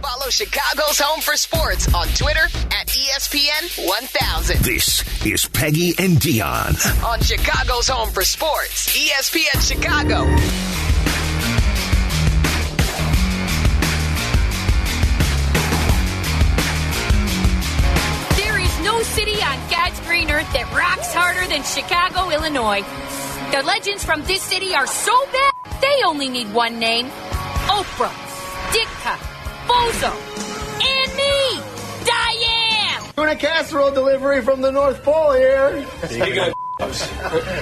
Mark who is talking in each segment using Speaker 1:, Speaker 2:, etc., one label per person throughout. Speaker 1: Follow Chicago's Home for Sports on Twitter at E ESPN 1000.
Speaker 2: This is Peggy and Dion.
Speaker 1: On Chicago's Home for Sports, E ESPN Chicago.
Speaker 3: There is no city on God's green earth that rocks harder than Chicago, Illinois. The legends from this city are so bad, they only need one name Oprah, Ditka, Bozo, and me, Diane!
Speaker 4: Doing a casserole delivery from the North Pole here.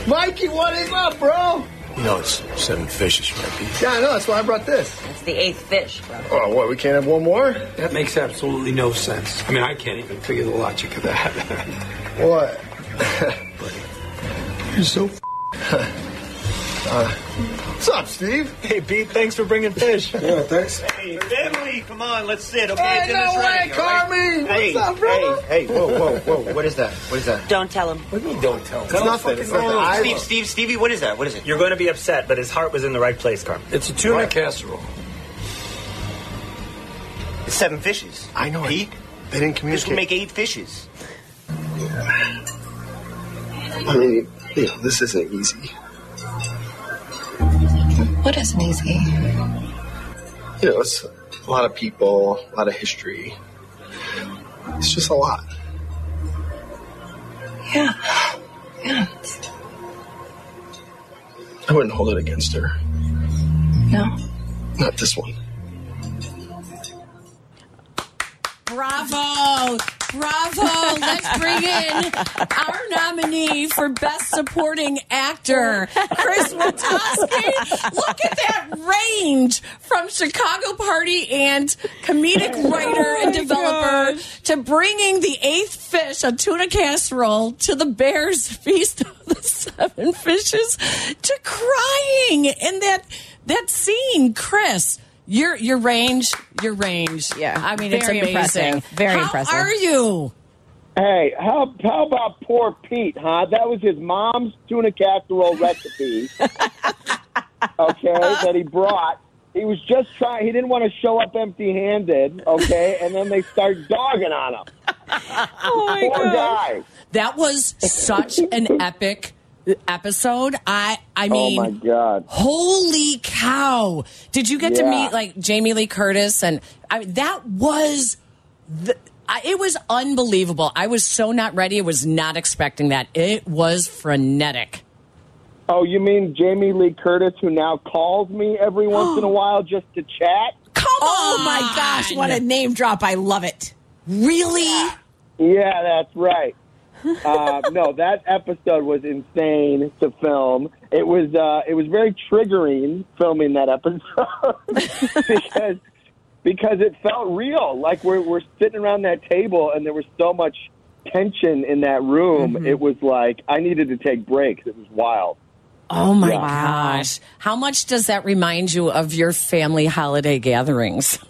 Speaker 4: Mikey, what is up, bro?
Speaker 5: You know, it's seven fishes, right?
Speaker 4: Yeah, I know. That's why I brought this.
Speaker 6: It's the eighth fish, bro.
Speaker 4: Oh, what? We can't have one more?
Speaker 5: That makes absolutely no sense. I mean, I can't even figure the logic of that.
Speaker 4: What?
Speaker 5: You're so.
Speaker 4: Uh, What's up, Steve?
Speaker 5: hey, Pete, thanks for bringing fish.
Speaker 4: Yeah, thanks.
Speaker 7: Deadly, come on, let's sit. Okay,
Speaker 4: Hey,
Speaker 7: dinner's
Speaker 4: no way,
Speaker 7: ready, all right?
Speaker 4: Carmi!
Speaker 7: Hey,
Speaker 4: What's up, brother?
Speaker 7: hey, hey, whoa, whoa, whoa! What is that? What is that?
Speaker 6: Don't tell him.
Speaker 5: What do you mean, don't tell me?
Speaker 4: It's nothing. It's nothing.
Speaker 7: Oh,
Speaker 4: I-
Speaker 7: Steve, Steve, Stevie, what is that? What is it?
Speaker 8: You're going to be upset, but his heart was in the right place, Carmen.
Speaker 5: It's a tuna casserole.
Speaker 7: It's seven fishes.
Speaker 4: I know it.
Speaker 7: Pete,
Speaker 4: They didn't
Speaker 7: this
Speaker 4: communicate.
Speaker 7: will make eight fishes.
Speaker 9: I mean, you know, this isn't easy.
Speaker 10: What isn't easy?
Speaker 9: You know, it's a lot of people, a lot of history. It's just a lot.
Speaker 10: Yeah. Yeah. it's-
Speaker 9: I wouldn't hold it against her.
Speaker 10: No.
Speaker 9: Not this one.
Speaker 3: Bravo! Bravo! Let's bring in our nominee for Best Supporting Actor, Chris Witowski. Look at that range from Chicago Party and comedic
Speaker 11: Oh
Speaker 3: writer and developer to bringing the eighth fish, a tuna casserole, to the Bears Feast of the Seven Fishes, to crying in that that scene, Chris. Your your range, your range.
Speaker 11: Yeah.
Speaker 3: I mean,
Speaker 11: Very
Speaker 3: it's amazing.
Speaker 11: impressive. Very
Speaker 3: How
Speaker 11: impressive.
Speaker 3: are you?
Speaker 4: Hey, how how about poor Pete, huh? That was his mom's tuna casserole recipe. okay, that he brought. He was just trying. He didn't want to show up empty-handed. Okay, and then they start dogging on him.
Speaker 11: Oh my
Speaker 4: Poor guy.
Speaker 3: That was such an epic episode. I I
Speaker 4: Oh
Speaker 3: mean,
Speaker 4: my god.
Speaker 3: holy cow! Did you get to
Speaker 4: Yeah.
Speaker 3: meet like Jamie Lee Curtis and I that was the, I, it was unbelievable. I was so not ready. I was not expecting that. It was frenetic.
Speaker 4: Oh, you mean Jamie Lee Curtis, who now calls me every once in a while just to chat?
Speaker 3: Come
Speaker 11: Oh
Speaker 3: on!
Speaker 11: my gosh, what a name drop. I love it.
Speaker 3: really?
Speaker 4: Yeah, that's right. Uh, no, that episode was insane to film. It was uh, it was very triggering filming that episode because because it felt real. Like we're we're sitting around that table, and there was so much tension in that room.
Speaker 11: Mm-hmm.
Speaker 4: It was like I needed to take breaks. It was wild.
Speaker 3: Oh my
Speaker 11: Wow.
Speaker 3: gosh! How much does that remind you of your family holiday gatherings?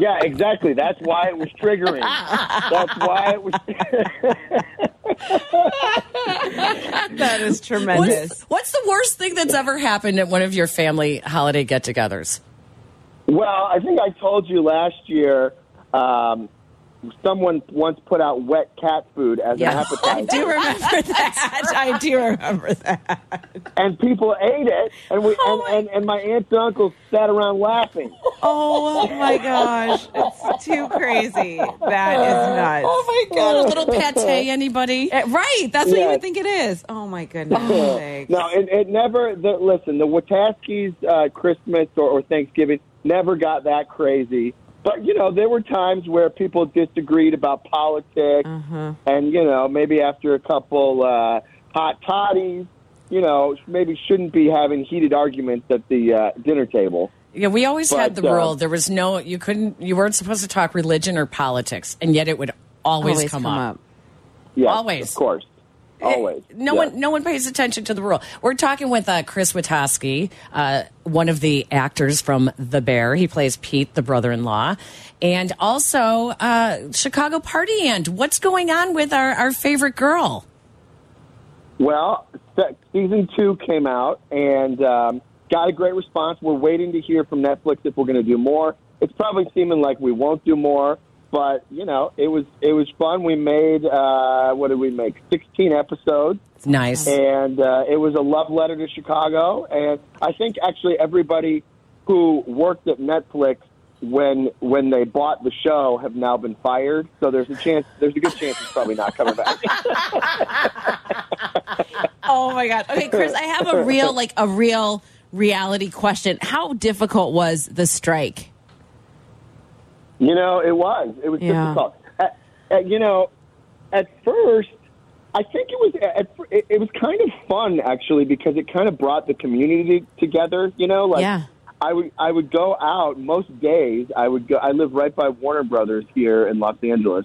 Speaker 4: Yeah, exactly. That's why it was triggering. That's why it was.
Speaker 11: That is
Speaker 3: What's, what's the worst thing that's ever happened at one of your family holiday get-togethers?
Speaker 4: Well, I think I told you last year. Um, someone once put out wet cat food as an
Speaker 11: Yeah. I
Speaker 4: appetizer,
Speaker 11: do remember that. I do remember that.
Speaker 4: and people ate it. And we and, and, and my aunts and uncles sat around laughing.
Speaker 11: Oh my gosh. It's too crazy. That is nuts.
Speaker 3: Oh my god, a little pate, anybody?
Speaker 11: Eh, Right. That's what you
Speaker 4: Yeah.
Speaker 11: would think it is. Oh my goodness. sakes.
Speaker 4: No, it, it never. The, listen, the Wataskis uh, Christmas or, or Thanksgiving never got that crazy. But you know, there were times where people disagreed about politics,
Speaker 11: Uh-huh.
Speaker 4: and you know, maybe after a couple uh, hot toddies, you know, maybe shouldn't be having heated arguments at the uh, dinner table.
Speaker 3: Yeah, we always had the
Speaker 4: But, uh,
Speaker 3: rule. There was no, you couldn't, you weren't supposed to talk religion or politics, and yet it would always, come, up.
Speaker 4: Yeah,
Speaker 3: Always.
Speaker 4: of course,
Speaker 11: Eh,
Speaker 4: always.
Speaker 3: No
Speaker 4: Yeah.
Speaker 3: one, no one pays attention to the rule. We're talking with uh, Chris Witowski, uh, one of the actors from The Bear. He plays Pete, the brother-in-law, and also uh, Chicago Party. And what's going on with our, our favorite girl?
Speaker 4: Well, se- season two came out and um, got a great response. We're waiting to hear from Netflix if we're going to do more. it's probably seeming like we won't do more, but you know, it was it was fun. We made uh, what did we make? Sixteen episodes,
Speaker 12: It's nice.
Speaker 4: and uh, it was a love letter to Chicago. And I think actually everybody who worked at Netflix when when they bought the show have now been fired. So there's a chance. There's a good chance it's probably not coming back.
Speaker 11: Oh my god.
Speaker 12: Okay, Chris, I have a real like a real reality question. How difficult was the strike?
Speaker 4: You know, it was. It was
Speaker 11: Yeah.
Speaker 4: difficult. At, at, Uh, you know, at first, I think it was. uh, At, it, it was kind of fun actually because it kind of brought the community together. You know, like
Speaker 12: Yeah.
Speaker 4: I would I would go out most days. I would go. I live right by Warner Brothers here in Los Angeles.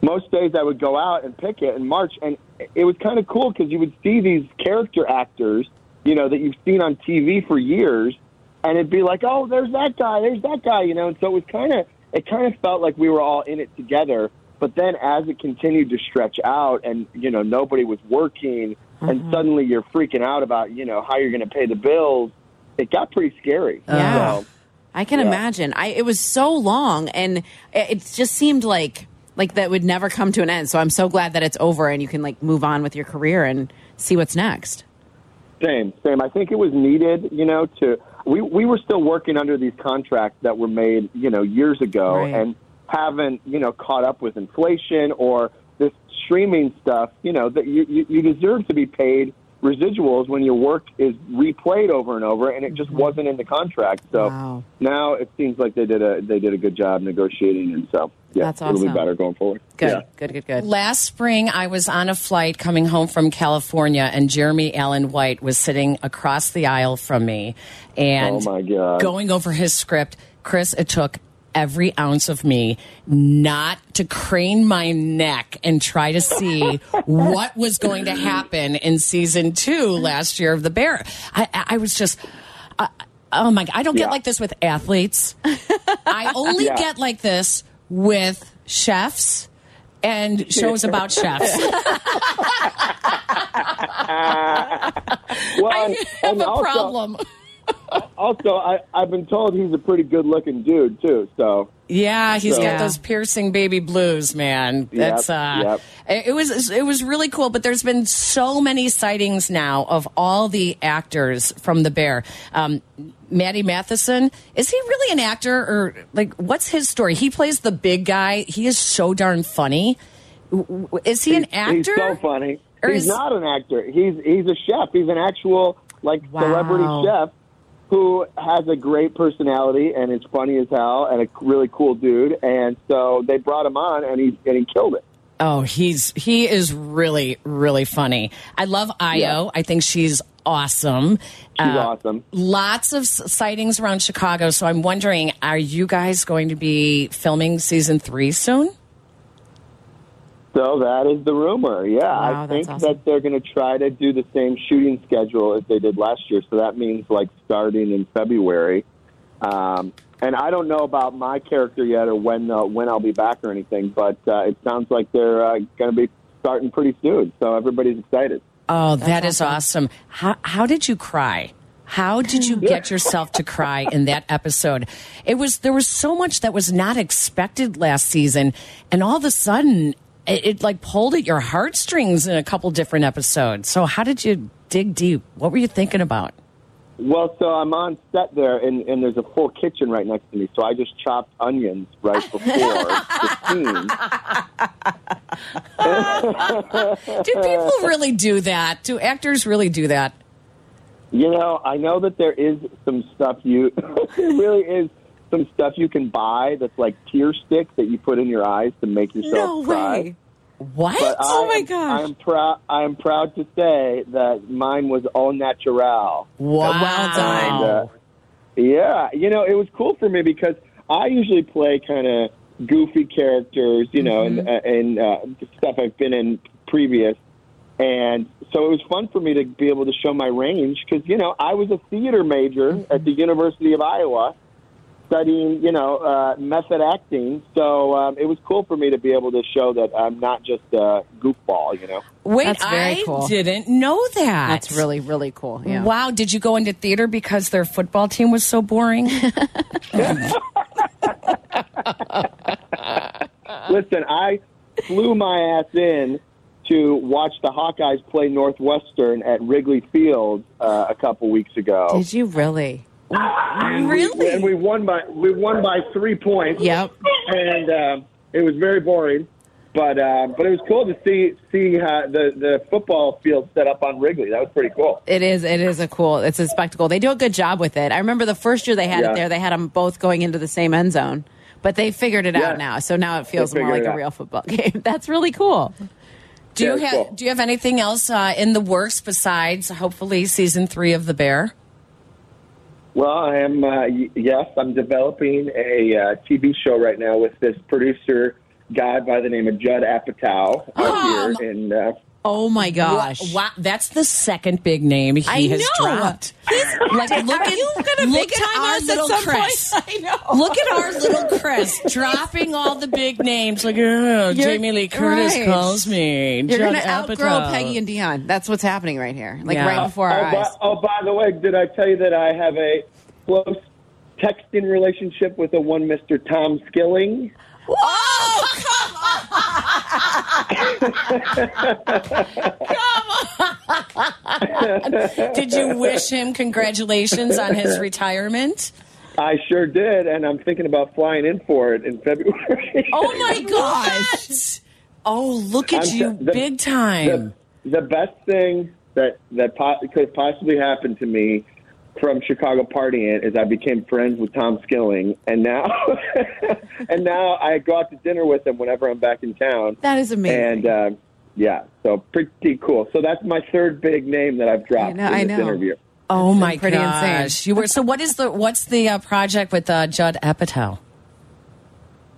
Speaker 4: Most days I would go out and pick it in March, and it was kind of cool because you would see these character actors, you know, that you've seen on TV for years, and it'd be like, oh, there's that guy, there's that guy, you know. And so it was kind of, it kind of felt like we were all in it together. But then as it continued to stretch out, and you know, nobody was working, and suddenly you're freaking out about, you know, how you're going to pay the bills. It got pretty scary.
Speaker 12: Yeah.
Speaker 4: So,
Speaker 12: I can imagine. I it was so long and it, it just seemed like like that would never come to an end. So I'm so glad that it's over and you can like move on with your career and see what's next.
Speaker 4: Same, same. I think it was needed, you know, to we we were still working under these contracts that were made, you know, years ago
Speaker 12: Right.
Speaker 4: and haven't, you know, caught up with inflation or this streaming stuff, you know, that you, you, you deserve to be paid residuals when your work is replayed over and over and it just wasn't in the contract. So
Speaker 12: Mm-hmm. Wow.
Speaker 4: now it seems like they did a they did a good job negotiating and so yeah,
Speaker 12: That's
Speaker 4: it'll
Speaker 12: awesome.
Speaker 4: be better going forward.
Speaker 12: Good.
Speaker 4: Yeah.
Speaker 12: Good, good, good.
Speaker 3: Last spring, I was on a flight coming home from California, and Jeremy Allen White was sitting across the aisle from me, and
Speaker 4: Oh, my God.
Speaker 3: going over his script. Chris, it took every ounce of me not to crane my neck and try to see what was going to happen in season two last year of the Bear. I, I I was just. I oh my! God, I don't get
Speaker 4: Yeah.
Speaker 3: like this with athletes. I only
Speaker 4: Yeah.
Speaker 3: get like this with chefs and shows about chefs.
Speaker 4: Well,
Speaker 3: I
Speaker 4: and-
Speaker 3: have
Speaker 4: and
Speaker 3: a
Speaker 4: also-
Speaker 3: problem.
Speaker 4: Also, I, I've been told he's a pretty good looking dude too, so
Speaker 3: Yeah, he's
Speaker 4: Yeah.
Speaker 3: got those piercing baby blues, man. That's uh it it was it was really cool, but there's been so many sightings now of all the actors from The Bear. Um Maddie Matheson, is he really an actor or like what's his story? He plays the big guy. He is so darn funny. W- w- Is he an actor?
Speaker 4: He's so funny.
Speaker 3: Or
Speaker 4: he's
Speaker 3: is-
Speaker 4: not an actor. He's he's a chef. He's an actual like
Speaker 3: Wow.
Speaker 4: celebrity chef who has a great personality and is funny as hell and a really cool dude. And so they brought him on and he and he killed it.
Speaker 3: Oh, he's he is really really funny. I love Io.
Speaker 4: Yeah.
Speaker 3: I think she's awesome.
Speaker 4: She's
Speaker 3: Uh,
Speaker 4: awesome.
Speaker 3: Lots of s- sightings around Chicago, so I'm wondering, are you guys going to be filming season three soon?
Speaker 4: So that is the rumor. Yeah,
Speaker 12: Wow,
Speaker 4: I
Speaker 12: that's
Speaker 4: think
Speaker 12: awesome.
Speaker 4: that they're going to try to do the same shooting schedule as they did last year. So that means like starting in February. Um, and I don't know about my character yet, or when uh, when I'll be back or anything. But uh, it sounds like they're uh, going to be starting pretty soon. So everybody's excited.
Speaker 3: Oh, that is awesome. How how did you cry? How did you get yourself to cry in that episode? It was there was so much that was not expected last season, and all of a sudden it, it like pulled at your heartstrings in a couple different episodes. So how did you dig deep? What were you thinking about?
Speaker 4: Well, so I'm on set there, and, and there's a full kitchen right next to me. So I just chopped onions right before the scene.
Speaker 3: Do people really do that? Do actors really do that?
Speaker 4: You know, I know that there is some stuff you there really is some stuff you can buy that's like tear stick that you put in your eyes to make
Speaker 11: No
Speaker 4: yourself cry.
Speaker 11: way.
Speaker 3: What?
Speaker 4: But
Speaker 11: Oh,
Speaker 4: I
Speaker 11: my
Speaker 4: am-
Speaker 11: gosh.
Speaker 4: I am proud I am proud to say that mine was all natural.
Speaker 3: wow.
Speaker 11: Well done.
Speaker 4: And, uh, yeah, you know, it was cool for me because I usually play kind of goofy characters, you know, and uh, and uh, stuff I've been in previous, and so it was fun for me to be able to show my range because you know I was a theater major at the University of Iowa. Studying, you know, uh, method acting, so um, it was cool for me to be able to show that I'm not just a goofball, you know.
Speaker 3: Wait,
Speaker 12: That's very
Speaker 3: I
Speaker 12: cool.
Speaker 3: didn't know that.
Speaker 12: That's really, really cool. Yeah.
Speaker 3: Wow, did you go into theater because their football team was so boring?
Speaker 4: Listen, I flew my ass in to watch the Hawkeyes play Northwestern at Wrigley Field uh, a couple weeks ago.
Speaker 3: Did you really?
Speaker 4: And really? We, and we won by we won by three points.
Speaker 3: Yep.
Speaker 4: And um it was very boring, but uh, but it was cool to see see uh, the the football field set up on Wrigley. That was pretty cool.
Speaker 13: It is. It is a cool. It's a spectacle. They do a good job with it. I remember the first year they had
Speaker 4: Yeah.
Speaker 13: it there. They had them both going into the same end zone, but they figured it
Speaker 3: Yeah.
Speaker 13: out now. So now it feels more
Speaker 3: figured
Speaker 13: like
Speaker 3: it
Speaker 13: a
Speaker 3: out.
Speaker 13: real football game. That's really cool.
Speaker 3: Do you
Speaker 13: Yeah,
Speaker 3: have
Speaker 13: cool.
Speaker 3: Do you have anything else uh, in the works besides hopefully season three of The Bear?
Speaker 4: Well, I am. Uh, y- yes, I'm developing a uh, TV show right now with this producer guy by the name of Judd Apatow out here in. Uh,
Speaker 13: Oh my
Speaker 3: gosh! Wow, that's the second big name he
Speaker 4: I
Speaker 3: has
Speaker 4: know.
Speaker 3: dropped. like look at
Speaker 13: make
Speaker 3: look
Speaker 13: it
Speaker 3: at our
Speaker 13: us at
Speaker 3: little
Speaker 13: some
Speaker 3: Chris.
Speaker 13: point? I know.
Speaker 3: Look at our little Chris dropping all the big names. Like oh, Jamie Lee Curtis
Speaker 13: right.
Speaker 3: calls me.
Speaker 13: You're
Speaker 3: Judd
Speaker 13: going to outgrow
Speaker 3: Apatow.
Speaker 13: Peggy and Dion. That's what's happening right here, like
Speaker 3: Yeah.
Speaker 13: right before our
Speaker 4: oh,
Speaker 13: eyes.
Speaker 4: By, oh, by the way, did I tell you that I have a close texting relationship with a one Mr. Tom Skilling?
Speaker 3: Did you wish him congratulations on his retirement?
Speaker 4: I sure did, and I'm thinking about flying in for it in February.
Speaker 3: Oh my gosh! Oh, look at
Speaker 4: I'm-
Speaker 3: you,
Speaker 4: the-
Speaker 3: big time.
Speaker 4: The, the best thing that that po- could possibly happen to me from Chicago partying is I became friends with Tom Skilling, and now and now I go out to dinner with him whenever I'm back in town.
Speaker 13: That is amazing.
Speaker 4: And uh, yeah, so pretty cool. So that's my third big name that I've dropped
Speaker 3: know,
Speaker 4: in
Speaker 3: I
Speaker 4: this
Speaker 3: know.
Speaker 4: interview.
Speaker 3: oh my
Speaker 13: pretty
Speaker 3: gosh! You were so. What is the what's the uh, project with uh, Judd Apatow?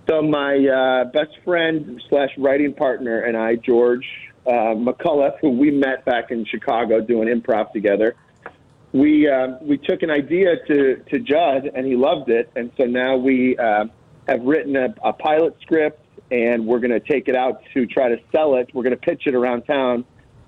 Speaker 4: So my uh, best friend slash writing partner and I, George uh, McCullough, who we met back in Chicago doing improv together, we uh, we took an idea to to Judd and he loved it, and so now we uh, have written a, a pilot script and we're going to take it out to try to sell it. We're going to pitch it around town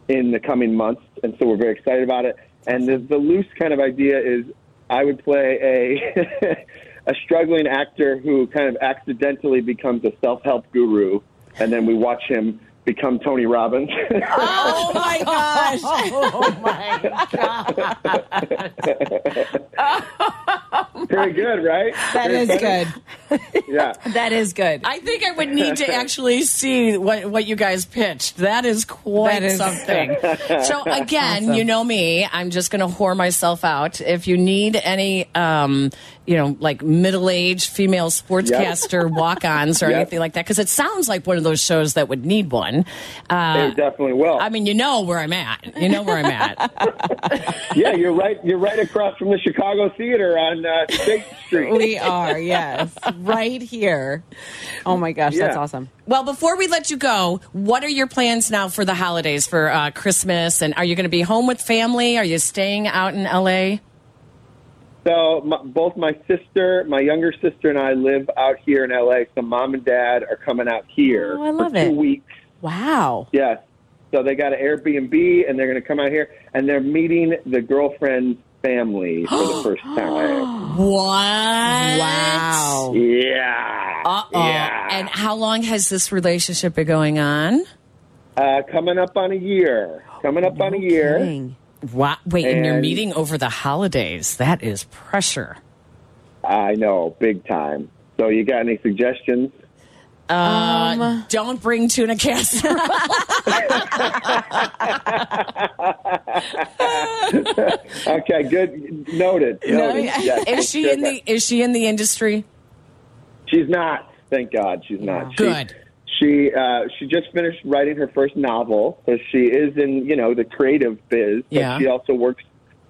Speaker 4: in the coming months, and so we're very excited about it. And the, the loose kind of idea is I would play a a struggling actor who kind of accidentally becomes a self help guru, and then we watch him become Tony Robbins.
Speaker 13: Oh my gosh.
Speaker 3: oh my
Speaker 4: Pretty good, right?
Speaker 3: That
Speaker 4: Pretty
Speaker 3: is
Speaker 4: funny? Yeah.
Speaker 13: That is good.
Speaker 3: I think I would need to actually see what, what you guys pitched. That is quite
Speaker 13: That is-
Speaker 3: something. So again,
Speaker 13: Awesome.
Speaker 3: you know me, I'm just going to whore myself out. If you need any, um, you know, like middle-aged female sportscaster walk-ons or
Speaker 4: Yep.
Speaker 3: anything like that, because it sounds like one of those shows that would need one. Uh,
Speaker 4: It definitely will.
Speaker 3: I mean, you know where I'm at. You know where I'm at.
Speaker 4: yeah, you're right. You're right across from the Chicago Theater on uh, State Street.
Speaker 13: we are, yes. Right here. Oh my gosh, that's
Speaker 3: Yeah.
Speaker 13: awesome.
Speaker 3: Well, before we let you go, what are your plans now for the holidays for uh, Christmas? And are you going to be home with family? Are you staying out in LA?
Speaker 4: So my, both my sister, my younger sister, and I live out here in LA. So mom and dad are coming out here
Speaker 13: Oh, I love
Speaker 4: for
Speaker 13: it.
Speaker 4: two weeks.
Speaker 13: Wow.
Speaker 4: Yes. So they got an Airbnb, and they're going to come out here, and they're meeting the girlfriend's family for the first time.
Speaker 3: What? Wow.
Speaker 4: Yeah.
Speaker 3: Uh oh. And how long has this relationship been going on?
Speaker 4: Uh, coming up on a year. Coming up on a year.
Speaker 3: Wow. Wait, and, you're
Speaker 4: And-
Speaker 3: meeting over the holidays. That is pressure.
Speaker 4: I know, big time. So you got any suggestions?
Speaker 3: Uh,
Speaker 13: Um,
Speaker 3: don't bring tuna casserole.
Speaker 4: Okay, good. Noted. noted. Yes,
Speaker 3: is she in the is she in the industry?
Speaker 4: She's not. Thank God, she's not. She,
Speaker 3: Good.
Speaker 4: She uh, she just finished writing her first novel, so she is in you know the creative biz. But
Speaker 3: Yeah.
Speaker 4: She also works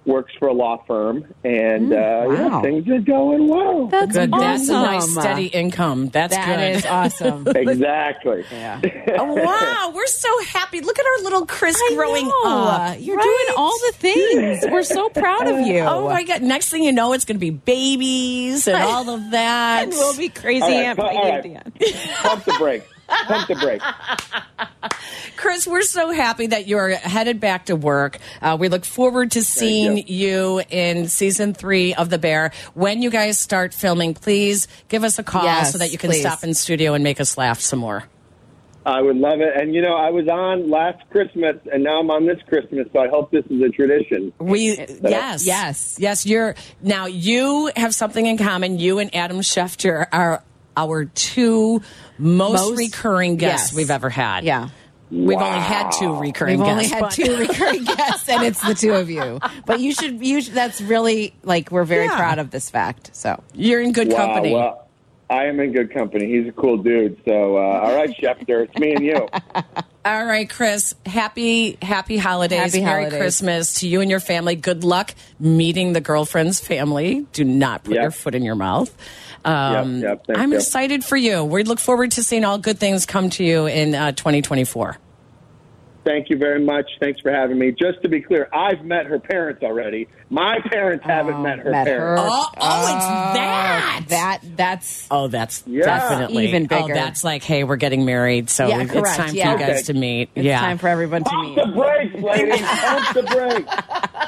Speaker 4: works for a law firm, and uh,
Speaker 3: Mm, wow.
Speaker 4: yeah, things are going well.
Speaker 13: That's
Speaker 3: good. That's a nice
Speaker 13: awesome.
Speaker 3: steady income. That's
Speaker 13: That
Speaker 3: good.
Speaker 13: is awesome.
Speaker 4: exactly.
Speaker 3: Oh, wow, we're so happy. Look at our little Chris growing
Speaker 13: know.
Speaker 3: up.
Speaker 13: You're doing all the things. We're so proud of you.
Speaker 3: Oh my god! Next thing you know, it's going to be babies and all of that.
Speaker 13: And we'll be crazy
Speaker 4: All right,
Speaker 13: Aunt
Speaker 4: all
Speaker 13: Peggy
Speaker 4: right.
Speaker 13: and Dion.
Speaker 4: Pump the brakes. Pump the brakes.
Speaker 3: Chris, we're so happy that you're headed back to work. Uh, we look forward to seeing you. in season three of The Bear. When you guys start filming, please give us a call
Speaker 13: Yes,
Speaker 3: so that you can
Speaker 13: please.
Speaker 3: stop in studio and make us laugh some more.
Speaker 4: I would love it. And you know, I was on last Christmas, and now I'm on this Christmas. So I hope this is a tradition.
Speaker 3: We
Speaker 4: So-
Speaker 3: yes, yes, yes. You're now. You have something in common. You and Adam Schefter are our two most,
Speaker 13: Most-
Speaker 3: recurring guests
Speaker 13: yes.
Speaker 3: we've ever had. Yeah, we've only had two recurring.
Speaker 13: We've only
Speaker 3: guests,
Speaker 13: had
Speaker 3: but-
Speaker 13: two recurring guests, and it's the two of you. But you should, you should, that's really like we're very
Speaker 3: Yeah.
Speaker 13: proud of this fact. So
Speaker 3: You're in good
Speaker 4: Wow, well, I am in good company. He's a cool dude. So uh, all right, Schefter, it's me and you.
Speaker 3: All right, Chris. Happy happy holidays.
Speaker 13: Happy
Speaker 3: Merry
Speaker 13: holidays.
Speaker 3: Christmas to you and your family. Good luck meeting the girlfriend's family. Do not put
Speaker 4: Yep.
Speaker 3: your foot in your mouth. Um,
Speaker 4: Yep, yep, thank
Speaker 3: I'm
Speaker 4: you.
Speaker 3: excited for you. We look forward to seeing all good things come to you in uh, 2024.
Speaker 4: Thank you very much. Thanks for having me. Just to be clear, I've met her parents already. My parents
Speaker 3: Oh,
Speaker 4: haven't met her
Speaker 13: met her.
Speaker 4: parents.
Speaker 3: it's Oh, that.
Speaker 13: that that's
Speaker 3: Oh, that's
Speaker 4: Yeah.
Speaker 3: definitely
Speaker 13: Even
Speaker 3: Oh,
Speaker 13: bigger.
Speaker 3: that's like, hey, we're getting married, so
Speaker 13: Yeah,
Speaker 3: it's
Speaker 13: correct,
Speaker 3: time
Speaker 13: yeah.
Speaker 3: for you guys to
Speaker 13: Okay.
Speaker 3: meet.
Speaker 13: it's
Speaker 3: yeah.
Speaker 13: time for everyone to meet.
Speaker 4: The brakes, ladies. Pump the brakes.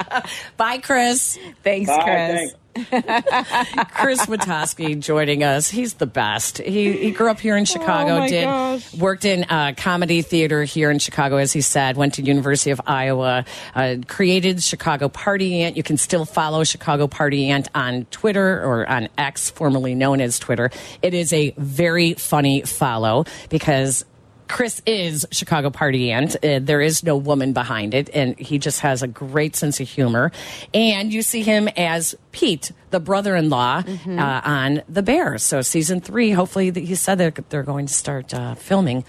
Speaker 3: Bye, Chris.
Speaker 13: Thanks,
Speaker 4: Bye,
Speaker 13: Chris.
Speaker 4: thanks.
Speaker 3: Chris Watoski joining us. He's the best. He he grew up here in Chicago.
Speaker 11: Oh, my
Speaker 3: did
Speaker 11: gosh.
Speaker 3: worked in uh, comedy theater here in Chicago, as he said. Went to University of Iowa. Uh, created Chicago Party Ant. You can still follow Chicago Party Ant on Twitter or on X, formerly known as Twitter. It is a very funny follow because. Chris is Chicago Party Ant. Uh, there is no woman behind it, and he just has a great sense of humor. And you see him as Pete, the brother-in-law,
Speaker 13: Mm-hmm.
Speaker 3: uh, on The Bear. So season three, hopefully, that he said they're, they're going to start uh, filming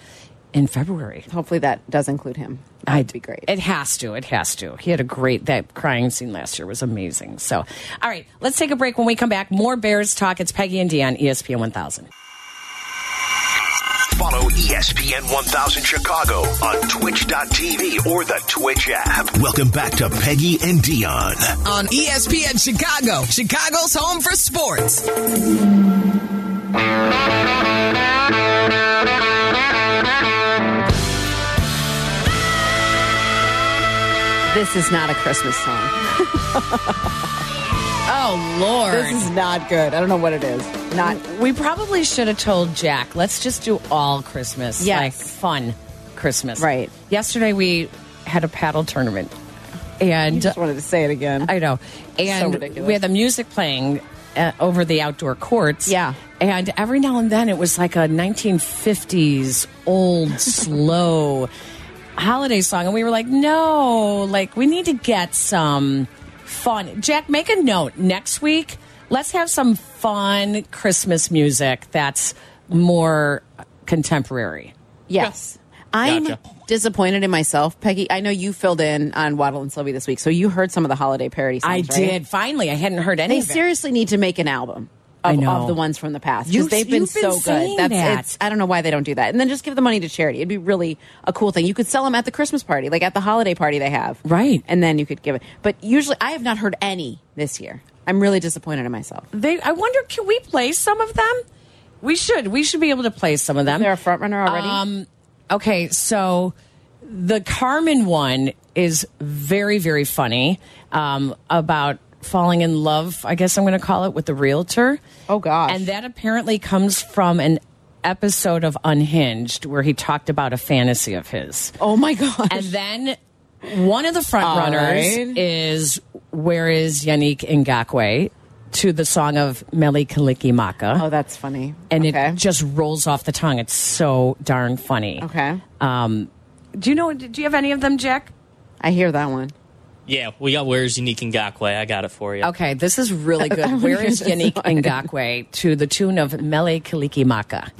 Speaker 3: in February.
Speaker 13: Hopefully that does include him.
Speaker 3: I'd
Speaker 13: That'd be great.
Speaker 3: It has to. It has to. He had a great that crying scene last year was amazing. So, all right, let's take a break. When we come back, more Bears talk. It's Peggy and E Dion, ESPN 1000.
Speaker 2: Follow E ESPN 1000 Chicago on twitch.tv or the Twitch app. Welcome back to Peggy and Dion.
Speaker 1: On E ESPN Chicago, Chicago's home for sports.
Speaker 13: This is not a Christmas song.
Speaker 3: Oh Lord,
Speaker 13: This is not good. I don't know what it is. Not
Speaker 3: We probably should have told Jack, let's just do all Christmas.
Speaker 13: Yes.
Speaker 3: Like fun Christmas.
Speaker 13: Right.
Speaker 3: Yesterday we had a paddle tournament. And
Speaker 13: just wanted to say it again.
Speaker 3: I know. And
Speaker 13: ridiculous.
Speaker 3: we had the music playing uh, over the outdoor courts.
Speaker 13: Yeah.
Speaker 3: And every now and then it was like a 1950s old, slow holiday song. And we were like, no, like we need to get some fun. Jack, make a note next week. Let's have some fun Christmas music that's more contemporary.
Speaker 13: Yes. I'm
Speaker 3: Gotcha.
Speaker 13: disappointed in myself, Peggy. I know you filled in on Waddle and Sylvie this week, so you heard some of the holiday parody songs.
Speaker 3: I
Speaker 13: right?
Speaker 3: did. Finally, I hadn't heard any
Speaker 13: They
Speaker 3: of it.
Speaker 13: seriously need to make an album. Of,
Speaker 3: I know.
Speaker 13: of the ones from the past
Speaker 3: You-
Speaker 13: because they've been
Speaker 3: you've been
Speaker 13: so
Speaker 3: saying
Speaker 13: good. That's
Speaker 3: that.
Speaker 13: it's. I don't know why they don't do that. And then just give the money to charity. It'd be really a cool thing. You could sell them at the Christmas party, like at the holiday party they have,
Speaker 3: Right.
Speaker 13: And then you could give it. But usually, I have not heard any this year. I'm really disappointed in myself.
Speaker 3: They, I wonder, can we play some of them? We should. We should be able to play some of them.
Speaker 13: They're a front runner already.
Speaker 3: Um, okay, so the Carmen one is very, very funny um, about falling in love. I guess I'm going to call it with the realtor.
Speaker 13: Oh, gosh.
Speaker 3: And that apparently comes from an episode of Unhinged where he talked about a fantasy of his.
Speaker 13: oh my gosh!
Speaker 3: And then one of the front runners
Speaker 13: right.
Speaker 3: is Where is Yannick Ngakwe to the song of Meli Kaliki Maka.
Speaker 13: oh, that's funny.
Speaker 3: and
Speaker 13: okay.
Speaker 3: it just rolls off the tongue. It's so darn funny.
Speaker 13: okay.
Speaker 3: Um, do you know? Do you have any of them, Jack?
Speaker 13: I hear that one.
Speaker 14: Yeah, we got Where's Unique in Gakwe. I got it for you.
Speaker 3: Okay, this is really good. Where is Yannick Ngakwe to the tune of Mele Kalikimaka?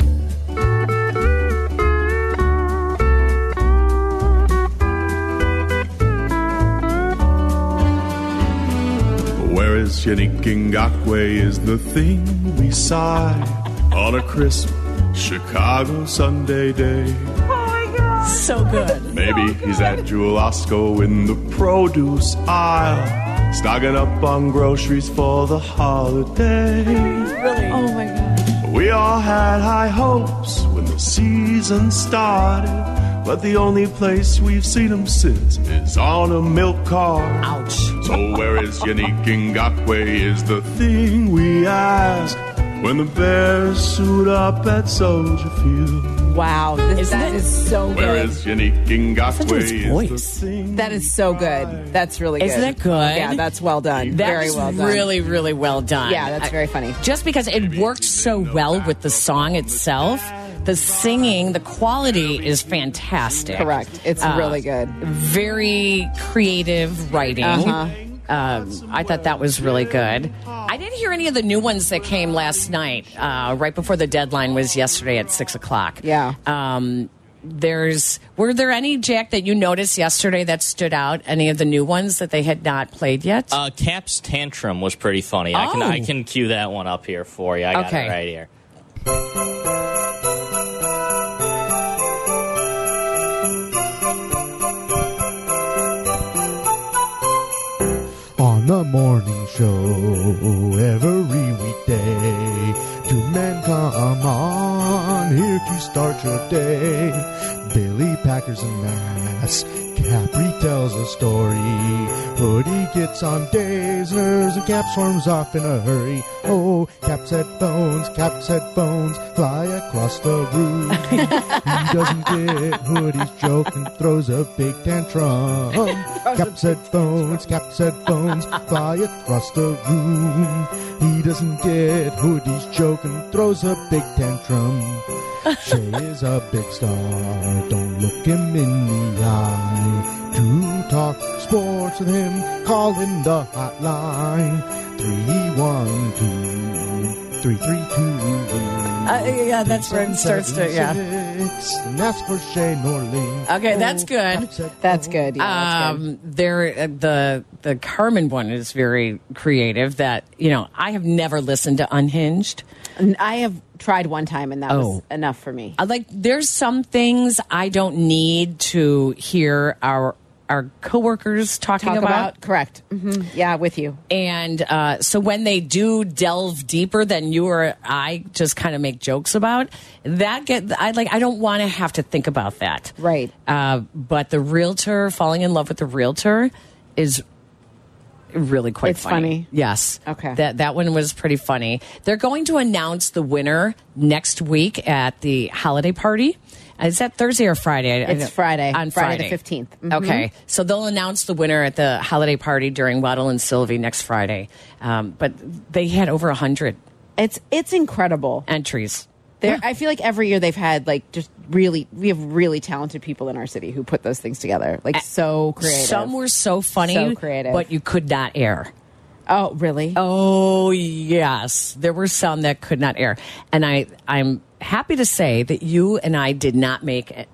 Speaker 15: Where is Yannick Ngakwe is the thing we sigh on a crisp Chicago Sunday day.
Speaker 3: So good.
Speaker 15: Maybe he's at Jewel Osco in the produce aisle, stocking up on groceries for the holiday.
Speaker 13: Oh my god.
Speaker 15: We all had high hopes when the season started, but the only place we've seen him since is on a milk cart.
Speaker 3: Ouch.
Speaker 15: So where is Yannick Ngakwe is the thing we ask. when the bears suit up at Soldier Field.
Speaker 13: Wow, this, that is so good.
Speaker 15: Where is Yannick
Speaker 13: Such a
Speaker 15: Ngakwe?
Speaker 13: voice.
Speaker 15: Is the
Speaker 13: That is so good. That's really good.
Speaker 3: Isn't it good?
Speaker 13: Yeah, that's well done.
Speaker 3: That
Speaker 13: very
Speaker 3: is
Speaker 13: well done.
Speaker 3: Really, really well done.
Speaker 13: Yeah, that's
Speaker 3: I-
Speaker 13: very funny.
Speaker 3: Just because it worked so well with the song itself, the singing, the quality is fantastic.
Speaker 13: Correct. It's really good.
Speaker 3: Very creative writing.
Speaker 13: Uh-huh.
Speaker 3: Um, I thought that was really good. I didn't hear any of the new ones that came last night, uh, right before the deadline was yesterday at six o'clock.
Speaker 13: Yeah.
Speaker 3: Um, there's were there any Jack that you noticed yesterday that stood out? Any of the new ones that they had not played yet?
Speaker 14: Uh, Cap's tantrum was pretty funny. I can
Speaker 3: Oh.
Speaker 14: I can cue that one up here for you. I got
Speaker 3: Okay.
Speaker 14: it right here.
Speaker 5: on the morning show every weekday. Two men come on here to start your day. Billy Packers and Mass. Capri tells a story. Hoodie gets on dazers and Cap swarms off in a hurry. Oh, Cap's headphones, Cap's headphones fly across the room. he doesn't get Hoodie's joke and throws a big tantrum. Cap's headphones, Cap's headphones fly across the room. He doesn't get Hoodie's joke and throws a big tantrum. Shay is a big star, don't look him in the eye. To talk sports with him, call in the hotline. 312 332
Speaker 3: Uh, yeah, that's where it starts to- yeah.
Speaker 5: And that's for Shay Norling.
Speaker 3: Okay, that's
Speaker 5: Oh,
Speaker 3: good.
Speaker 13: That's good. Yeah, that's good.
Speaker 3: Um, there, uh, the the Carmen one is very creative. That you know, I have never listened to Unhinged.
Speaker 13: And Um, I have tried one time, and that was
Speaker 3: Oh.
Speaker 13: enough for me.
Speaker 3: I like there's some things I don't need to hear our our coworkers talking
Speaker 13: Talk
Speaker 3: about.
Speaker 13: about, correct. hmm Yeah, with you.
Speaker 3: And uh, so when they do delve deeper than you or I just kind of make jokes about, that get I like I don't want to have to think about that.
Speaker 13: Right.
Speaker 3: Uh, but the realtor falling in love with the realtor is really quite
Speaker 13: It's funny.
Speaker 3: Yes.
Speaker 13: Okay.
Speaker 3: That that one was pretty funny. They're going to announce the winner next week at the holiday party. Is that Thursday or Friday? I- I
Speaker 13: It's
Speaker 3: don't-
Speaker 13: Friday,
Speaker 3: On
Speaker 13: Friday
Speaker 3: Friday,
Speaker 13: the 15th. Mhm.
Speaker 3: Okay, so they'll announce the winner at the holiday party during Waddle and Sylvie next Friday. Um, but they had over hundred
Speaker 13: It's it's incredible.
Speaker 3: entries.
Speaker 13: There, I feel like every year they've had like just really we have really talented people in our city who put those things together. Like so creative.
Speaker 3: Some were so funny,
Speaker 13: So creative.
Speaker 3: but you could not air.
Speaker 13: oh really?
Speaker 3: Oh yes, there were some that could not air, and I I'm happy to say that you and I did not make it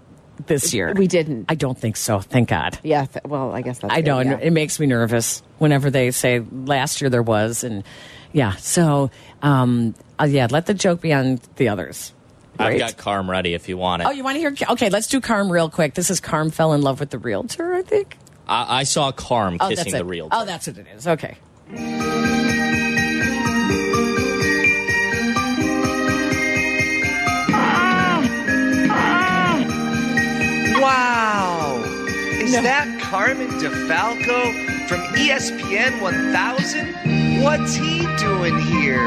Speaker 3: this year.
Speaker 13: We didn't.
Speaker 3: I don't think so. Thank God.
Speaker 13: Yeah. Th well, I guess that's.
Speaker 3: I
Speaker 13: good,
Speaker 3: know and
Speaker 13: yeah.
Speaker 3: it makes me nervous whenever they say last year there was and yeah. So um uh, yeah, let the joke be on the others.
Speaker 14: I've
Speaker 3: Right?
Speaker 14: got Carm ready if you want it.
Speaker 3: Oh, you want to hear? Okay, let's do Carm real quick. This is Carm fell in love with the realtor. I think.
Speaker 14: I, I saw Carm
Speaker 3: Oh,
Speaker 14: kissing
Speaker 3: that's
Speaker 14: the
Speaker 3: it.
Speaker 14: real.
Speaker 3: Oh, that's what it is. Okay.
Speaker 10: Wow. Is that Carmen DeFalco from E ESPN 1000? What's he doing here?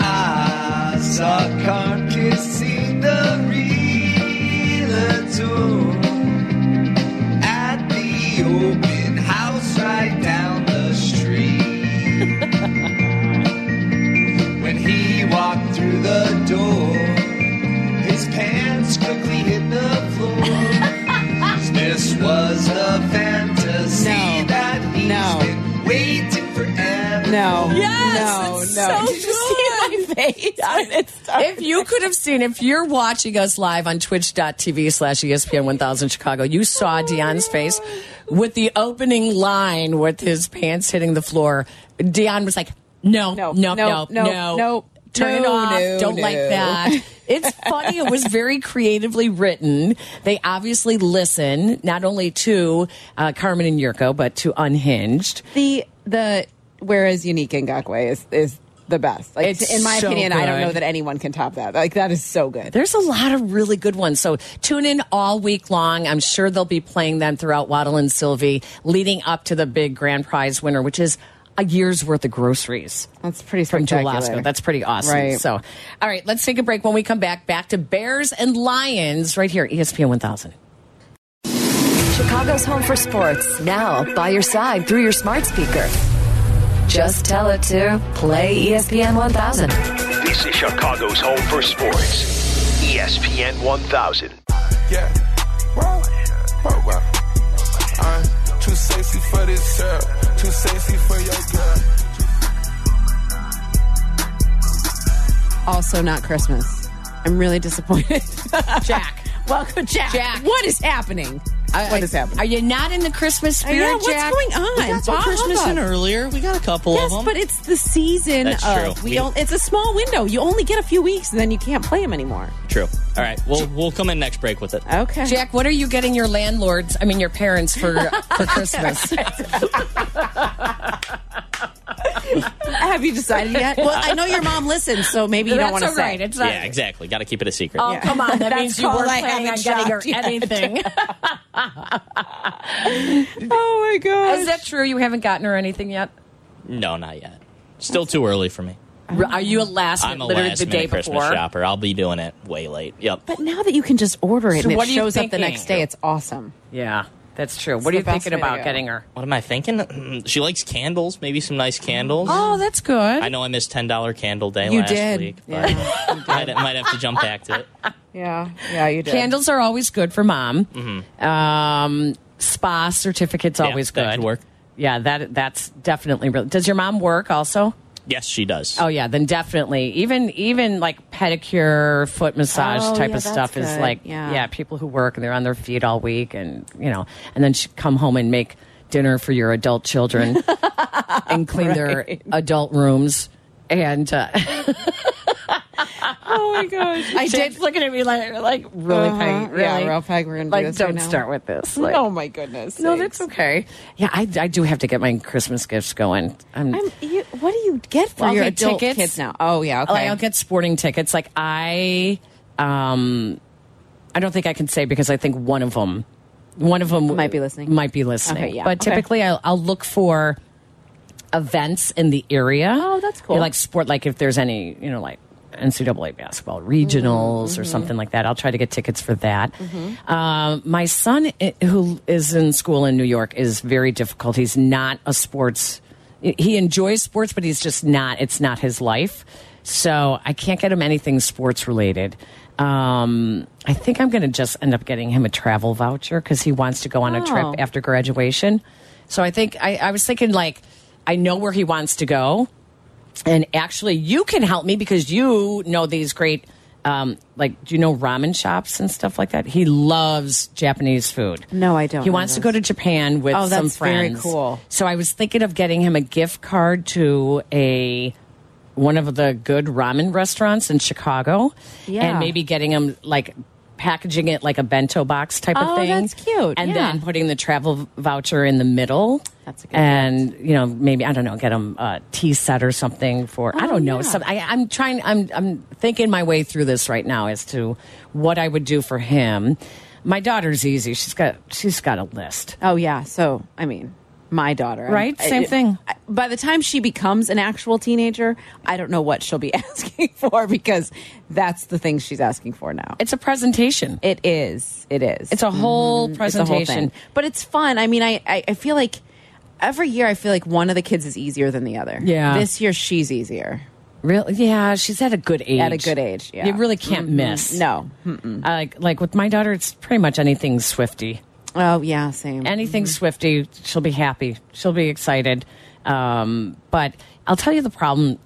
Speaker 10: I saw Carmen kissing the realtor at the open house right down the street. when he walked through the door, his pants quickly hit the floor. 'Cause this was a fantasy
Speaker 13: No.
Speaker 10: that he's
Speaker 13: No.
Speaker 10: been waiting forever.
Speaker 13: No.
Speaker 3: Yes,
Speaker 13: No.
Speaker 3: it's
Speaker 13: no.
Speaker 3: so
Speaker 13: Did you see my face when it started?
Speaker 3: If you could have seen, if you're watching us live on twitch.tv slash E ESPN 1000 Chicago, you saw Dion's face with the opening line with his pants hitting the floor. Dion was like, no, no, no, no, no, no. Turn it
Speaker 13: no,
Speaker 3: off.
Speaker 13: no,
Speaker 3: Don't like
Speaker 13: no."
Speaker 3: that. It's funny. it was very creatively written. They obviously listen not only to uh, Carmen and Yurko, but to Unhinged.
Speaker 13: the the whereas unique Ngakwe is is the best. Like
Speaker 3: It's
Speaker 13: in my
Speaker 3: so
Speaker 13: opinion, I don't
Speaker 3: good.
Speaker 13: know that anyone can top that. Like that is so good.
Speaker 3: There's a lot of really good ones. So tune in all week long. I'm sure they'll be playing them throughout Waddle and Sylvie leading up to the big grand prize winner, which is a year's worth of groceries.
Speaker 13: That's pretty
Speaker 3: from
Speaker 13: spectacular.
Speaker 3: Tabasco. That's pretty awesome.
Speaker 13: Right.
Speaker 3: So, all right, let's take a break. When we come back, back to Bears and Lions right here, E ESPN 1000.
Speaker 16: Chicago's home for sports, now by your side through your smart speaker. Just tell it to play E ESPN 1000.
Speaker 2: This is Chicago's home for sports. E ESPN 1000.
Speaker 17: Yeah. Wow. Wow, wow. I'm
Speaker 4: Uh,
Speaker 17: too sexy for this girl. Too sexy for your girl.
Speaker 13: Also, not Christmas. I'm really disappointed. Jack. Welcome, Jack. Jack. What is happening? what is happening?
Speaker 3: Are you not in the Christmas
Speaker 13: I know,
Speaker 3: spirit,
Speaker 13: what's
Speaker 3: Jack?
Speaker 13: going on?
Speaker 3: We got some
Speaker 13: Bob
Speaker 3: Christmas in
Speaker 13: Hubbub.
Speaker 14: earlier. We got a couple
Speaker 13: yes,
Speaker 14: of them.
Speaker 13: but it's the season
Speaker 14: That's
Speaker 13: of
Speaker 14: true.
Speaker 13: we
Speaker 14: We-
Speaker 13: don't. It's a small window. You only get a few weeks, and then you can't play them anymore.
Speaker 14: True. All right. We'll we'll come in next break with it.
Speaker 13: Okay.
Speaker 3: Jack, what are you getting your landlords, I mean your parents for for Christmas?
Speaker 13: Have you decided yet? Well, I know your mom listens, so maybe you
Speaker 3: That's
Speaker 13: don't want to
Speaker 3: all
Speaker 13: say.
Speaker 3: right. It's not-
Speaker 14: Yeah, exactly. Got to keep it a secret.
Speaker 3: Oh, come on. That
Speaker 13: That's
Speaker 3: means you
Speaker 13: called
Speaker 3: weren't
Speaker 13: I
Speaker 3: planning on
Speaker 13: haven't
Speaker 3: getting her
Speaker 13: shopped yet.
Speaker 3: anything.
Speaker 13: oh, my God.
Speaker 3: Is that true? You haven't gotten her anything yet?
Speaker 14: No, not yet. Still too early for me.
Speaker 3: Are you a last
Speaker 14: I'm a
Speaker 3: literally
Speaker 14: last
Speaker 3: the day
Speaker 14: minute Christmas
Speaker 3: before?
Speaker 14: shopper. I'll be doing it way late. Yep.
Speaker 13: But now that you can just order it
Speaker 3: So
Speaker 13: and
Speaker 3: what
Speaker 13: it
Speaker 3: are you
Speaker 13: shows up the
Speaker 3: thinking?
Speaker 13: next day, it's awesome.
Speaker 3: Yeah, that's true.
Speaker 13: It's
Speaker 3: what are
Speaker 13: the
Speaker 3: you
Speaker 13: best
Speaker 3: thinking
Speaker 13: way to
Speaker 3: about
Speaker 13: go.
Speaker 3: getting her?
Speaker 14: What am I thinking? she likes candles. Maybe some nice candles.
Speaker 3: Oh, that's good.
Speaker 14: I know I missed ten dollar candle day
Speaker 3: You
Speaker 14: last
Speaker 3: did.
Speaker 14: week, but might, might have to jump back to it.
Speaker 13: Yeah. Yeah, you did.
Speaker 3: Candles are always good for mom.
Speaker 14: Mhm.
Speaker 3: Um, spa certificates
Speaker 14: Yeah,
Speaker 3: always good.
Speaker 14: that could work.
Speaker 3: Yeah, that that's definitely real. Does your mom work also?
Speaker 14: Yes, she does.
Speaker 3: Oh yeah, then definitely. Even even like pedicure, foot massage
Speaker 13: Oh,
Speaker 3: type
Speaker 13: yeah,
Speaker 3: of stuff
Speaker 13: that's
Speaker 3: is
Speaker 13: good.
Speaker 3: like
Speaker 13: Yeah.
Speaker 3: people who work and they're on their feet all week and you know, and then she come home and make dinner for your adult children and clean their adult rooms and uh,
Speaker 13: Oh, my gosh. I did.
Speaker 3: Jake's looking at me like, like really,
Speaker 13: Uh-huh.
Speaker 3: Peg, really?
Speaker 13: Yeah, real Peg, we're gonna do
Speaker 3: like,
Speaker 13: this right
Speaker 3: don't
Speaker 13: now.
Speaker 3: start with this. Like,
Speaker 13: Oh, my goodness.
Speaker 3: no,
Speaker 13: sakes.
Speaker 3: that's okay. Yeah, I, I do have to get my Christmas gifts going. I'm,
Speaker 13: I'm, you, what do you get for
Speaker 3: I'll
Speaker 13: your
Speaker 3: get
Speaker 13: adult
Speaker 3: tickets.
Speaker 13: kids now? Oh, yeah. Okay.
Speaker 3: Like, I'll get sporting tickets. Like I, um, I don't think I can say because I think one of them, one of them might be listening. Might be listening.
Speaker 13: Okay, yeah.
Speaker 3: But
Speaker 13: Okay.
Speaker 3: typically, I'll, I'll look for events in the area. Oh, that's
Speaker 13: cool.
Speaker 3: Like sport, like if there's any, you know, like NCAA basketball regionals or
Speaker 13: mhm.
Speaker 3: something like that. I'll try to get tickets for that. Um, my son, i- who is in school in New York, is very difficult. He's not a sports. He enjoys sports, but he's just not. It's not his life. So I can't get him anything sports related. Um, I think I'm going to just end up getting him a travel voucher because he wants to go on a trip
Speaker 13: Oh.
Speaker 3: after graduation. So I think I, I was thinking like I know where he wants to go, and actually you can help me because you know these great. Um, like, do you know ramen shops and stuff like that? He loves Japanese food.
Speaker 13: No, I don't
Speaker 3: He
Speaker 13: know
Speaker 3: wants to
Speaker 13: those.
Speaker 3: go to Japan with
Speaker 13: Oh,
Speaker 3: some
Speaker 13: that's very
Speaker 3: friends.
Speaker 13: cool.
Speaker 3: So I was thinking of getting him a gift card to a one of the good ramen restaurants in Chicago,
Speaker 13: Yeah.
Speaker 3: and maybe getting him like packaging it like a bento box type of
Speaker 13: Oh,
Speaker 3: thing.
Speaker 13: that's cute.
Speaker 3: And
Speaker 13: Yeah.
Speaker 3: then putting the travel voucher in the middle. That's a
Speaker 13: good
Speaker 3: And you know maybe I don't know get him a tea set or something for
Speaker 13: Oh,
Speaker 3: I don't know. Some, I, I'm trying. I'm I'm thinking my way through this right now as to what I would do for him. My daughter's easy. She's got she's got a list.
Speaker 13: Oh yeah. So I mean, my daughter, I'm-
Speaker 3: Right? Same thing.
Speaker 13: I- by the time she becomes an actual teenager, I don't know what she'll be asking for because that's the thing she's asking for now.
Speaker 3: It's a presentation.
Speaker 13: It is. It is.
Speaker 3: Mm-hmm. It's a whole presentation.
Speaker 13: thing. but it's fun. I mean, I, I I feel like every year I feel like one of the kids is easier than the other.
Speaker 3: Yeah.
Speaker 13: This year she's easier.
Speaker 3: Really? Yeah, she's at a good age.
Speaker 13: At a good age, yeah.
Speaker 3: You really can't
Speaker 13: Mm-mm.
Speaker 3: miss.
Speaker 13: No.
Speaker 3: I like like with my daughter, it's pretty much anything Swifty.
Speaker 13: Oh yeah. Same.
Speaker 3: Anything Swifty, she'll be happy. She'll be excited. Um, but I'll tell you the problem: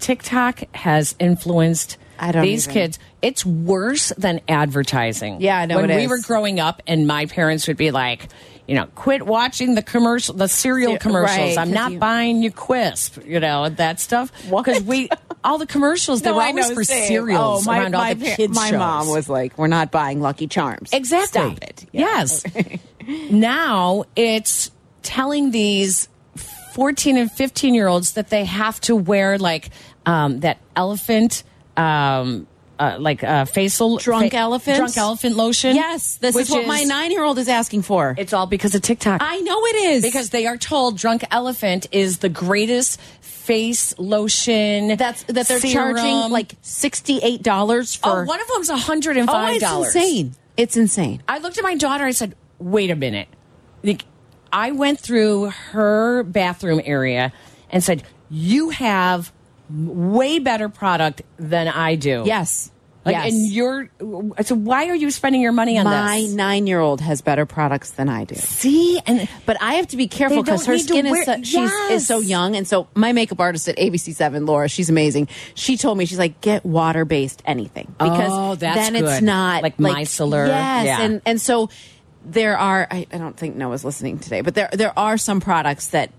Speaker 3: TikTok has influenced
Speaker 13: I don't
Speaker 3: these
Speaker 13: even-
Speaker 3: kids. It's worse than advertising.
Speaker 13: Yeah, I know
Speaker 3: When
Speaker 13: it
Speaker 3: we
Speaker 13: is.
Speaker 3: were growing up, and my parents would be like. You know, quit watching the commercial, the cereal
Speaker 13: Right,
Speaker 3: commercials. I'm
Speaker 13: 'cause
Speaker 3: not
Speaker 13: you-
Speaker 3: buying you Quisp, you know, that stuff. Because we, all the commercials, they
Speaker 13: No,
Speaker 3: were
Speaker 13: I
Speaker 3: always
Speaker 13: know,
Speaker 3: for
Speaker 13: same.
Speaker 3: cereals
Speaker 13: Oh, my,
Speaker 3: around all
Speaker 13: my
Speaker 3: the
Speaker 13: par-
Speaker 3: kids
Speaker 13: My
Speaker 3: shows.
Speaker 13: mom was like, "We're not buying Lucky Charms."
Speaker 3: Exactly.
Speaker 13: Stop it.
Speaker 3: Yes. now it's telling these 14 and 15 year olds that they have to wear like um, that elephant um, uh, like uh, facial
Speaker 13: Drunk
Speaker 3: fa-
Speaker 13: elephants?
Speaker 3: drunk elephant lotion.
Speaker 13: Yes, this
Speaker 3: which
Speaker 13: is what my nine-year-old is asking for.
Speaker 3: It's all because of TikTok.
Speaker 13: I know it is
Speaker 3: because they are told drunk elephant is the greatest face lotion
Speaker 13: that's that they're charging like sixty-eight dollars for.
Speaker 3: Oh, one of them's hundred and five
Speaker 13: Oh,
Speaker 3: dollars.
Speaker 13: it's insane! It's insane.
Speaker 3: I looked at my daughter. I said, "Wait a minute." Like, I went through her bathroom area and said, "You have way better product than I do."
Speaker 13: Yes.
Speaker 3: Oh. Like,
Speaker 13: yes.
Speaker 3: And you're so. Why are you spending your money on
Speaker 13: my
Speaker 3: this?
Speaker 13: nine-year-old has better products than I do.
Speaker 3: See, and
Speaker 13: But I have to be careful
Speaker 3: They don't
Speaker 13: because her
Speaker 3: need to
Speaker 13: skin is
Speaker 3: wear-
Speaker 13: so, she's is so
Speaker 3: Yes.
Speaker 13: young, and so my makeup artist at ABC Seven, Laura, she's amazing. She told me she's like, get water based anything because
Speaker 3: Oh, that's
Speaker 13: then it's
Speaker 3: good.
Speaker 13: not
Speaker 3: Like micellar.
Speaker 13: Yes,
Speaker 3: Yeah.
Speaker 13: and and so there are. I, I don't think Noah's listening today, but there there are some products that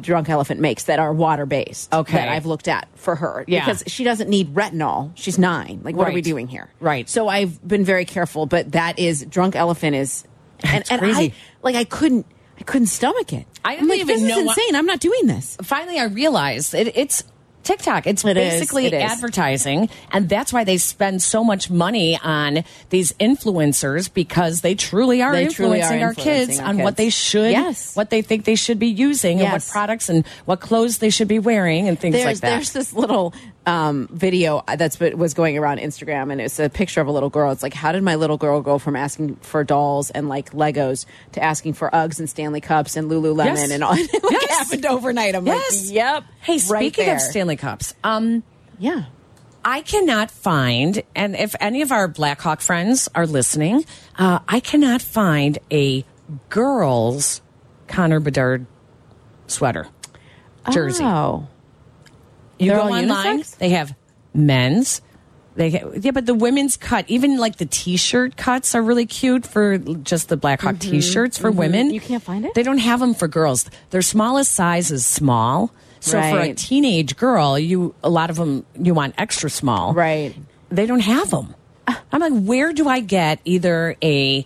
Speaker 13: Drunk Elephant makes that are water based.
Speaker 3: Okay.
Speaker 13: that I've looked at for her
Speaker 3: Yeah.
Speaker 13: because she doesn't need retinol. She's nine. Like, what are we
Speaker 3: Right.
Speaker 13: doing here?
Speaker 3: Right.
Speaker 13: So I've been very careful, but that is Drunk Elephant is and, and
Speaker 3: crazy.
Speaker 13: I like I couldn't I couldn't stomach it.
Speaker 3: I
Speaker 13: I'm
Speaker 3: didn't
Speaker 13: like,
Speaker 3: even
Speaker 13: this
Speaker 3: know
Speaker 13: is
Speaker 3: why-
Speaker 13: insane. I'm not doing this.
Speaker 3: finally I realized it, it's TikTok. It's
Speaker 13: It is,
Speaker 3: basically
Speaker 13: it is.
Speaker 3: advertising, and that's why they spend so much money on these influencers because they truly are
Speaker 13: They truly
Speaker 3: influencing
Speaker 13: are
Speaker 3: our kids
Speaker 13: influencing our
Speaker 3: on what
Speaker 13: kids.
Speaker 3: they should,
Speaker 13: Yes.
Speaker 3: what they think they should be using, and what
Speaker 13: Yes.
Speaker 3: products and what clothes they should be wearing, and things
Speaker 13: There's
Speaker 3: like that.
Speaker 13: there's this little um, video that's what was going around Instagram, and it's a picture of a little girl. It's like, how did my little girl go from asking for dolls and like Legos to asking for Uggs and Stanley cups and Lululemon
Speaker 3: Yes.
Speaker 13: and all? It like,
Speaker 3: Yes.
Speaker 13: happened overnight. I'm
Speaker 3: Yes.
Speaker 13: like, yep.
Speaker 3: Hey,
Speaker 13: right
Speaker 3: speaking
Speaker 13: there.
Speaker 3: of Stanley Cups, um,
Speaker 13: yeah.
Speaker 3: I cannot find, and if any of our Blackhawk friends are listening, uh, I cannot find a girls Connor Bedard sweater jersey.
Speaker 13: Oh.
Speaker 3: you
Speaker 13: They're
Speaker 3: go
Speaker 13: all
Speaker 3: online,
Speaker 13: unisex?
Speaker 3: they have men's. They ha yeah, but the women's cut, even like the t-shirt cuts, are really cute for just the Blackhawk t-shirts for
Speaker 13: mhm.
Speaker 3: women.
Speaker 13: You can't find it?
Speaker 3: They don't have them for girls. Their smallest size is small. So for a
Speaker 13: Right.
Speaker 3: teenage girl, you a lot of them you want extra small.
Speaker 13: Right.
Speaker 3: They don't have them. I'm like, where do I get either a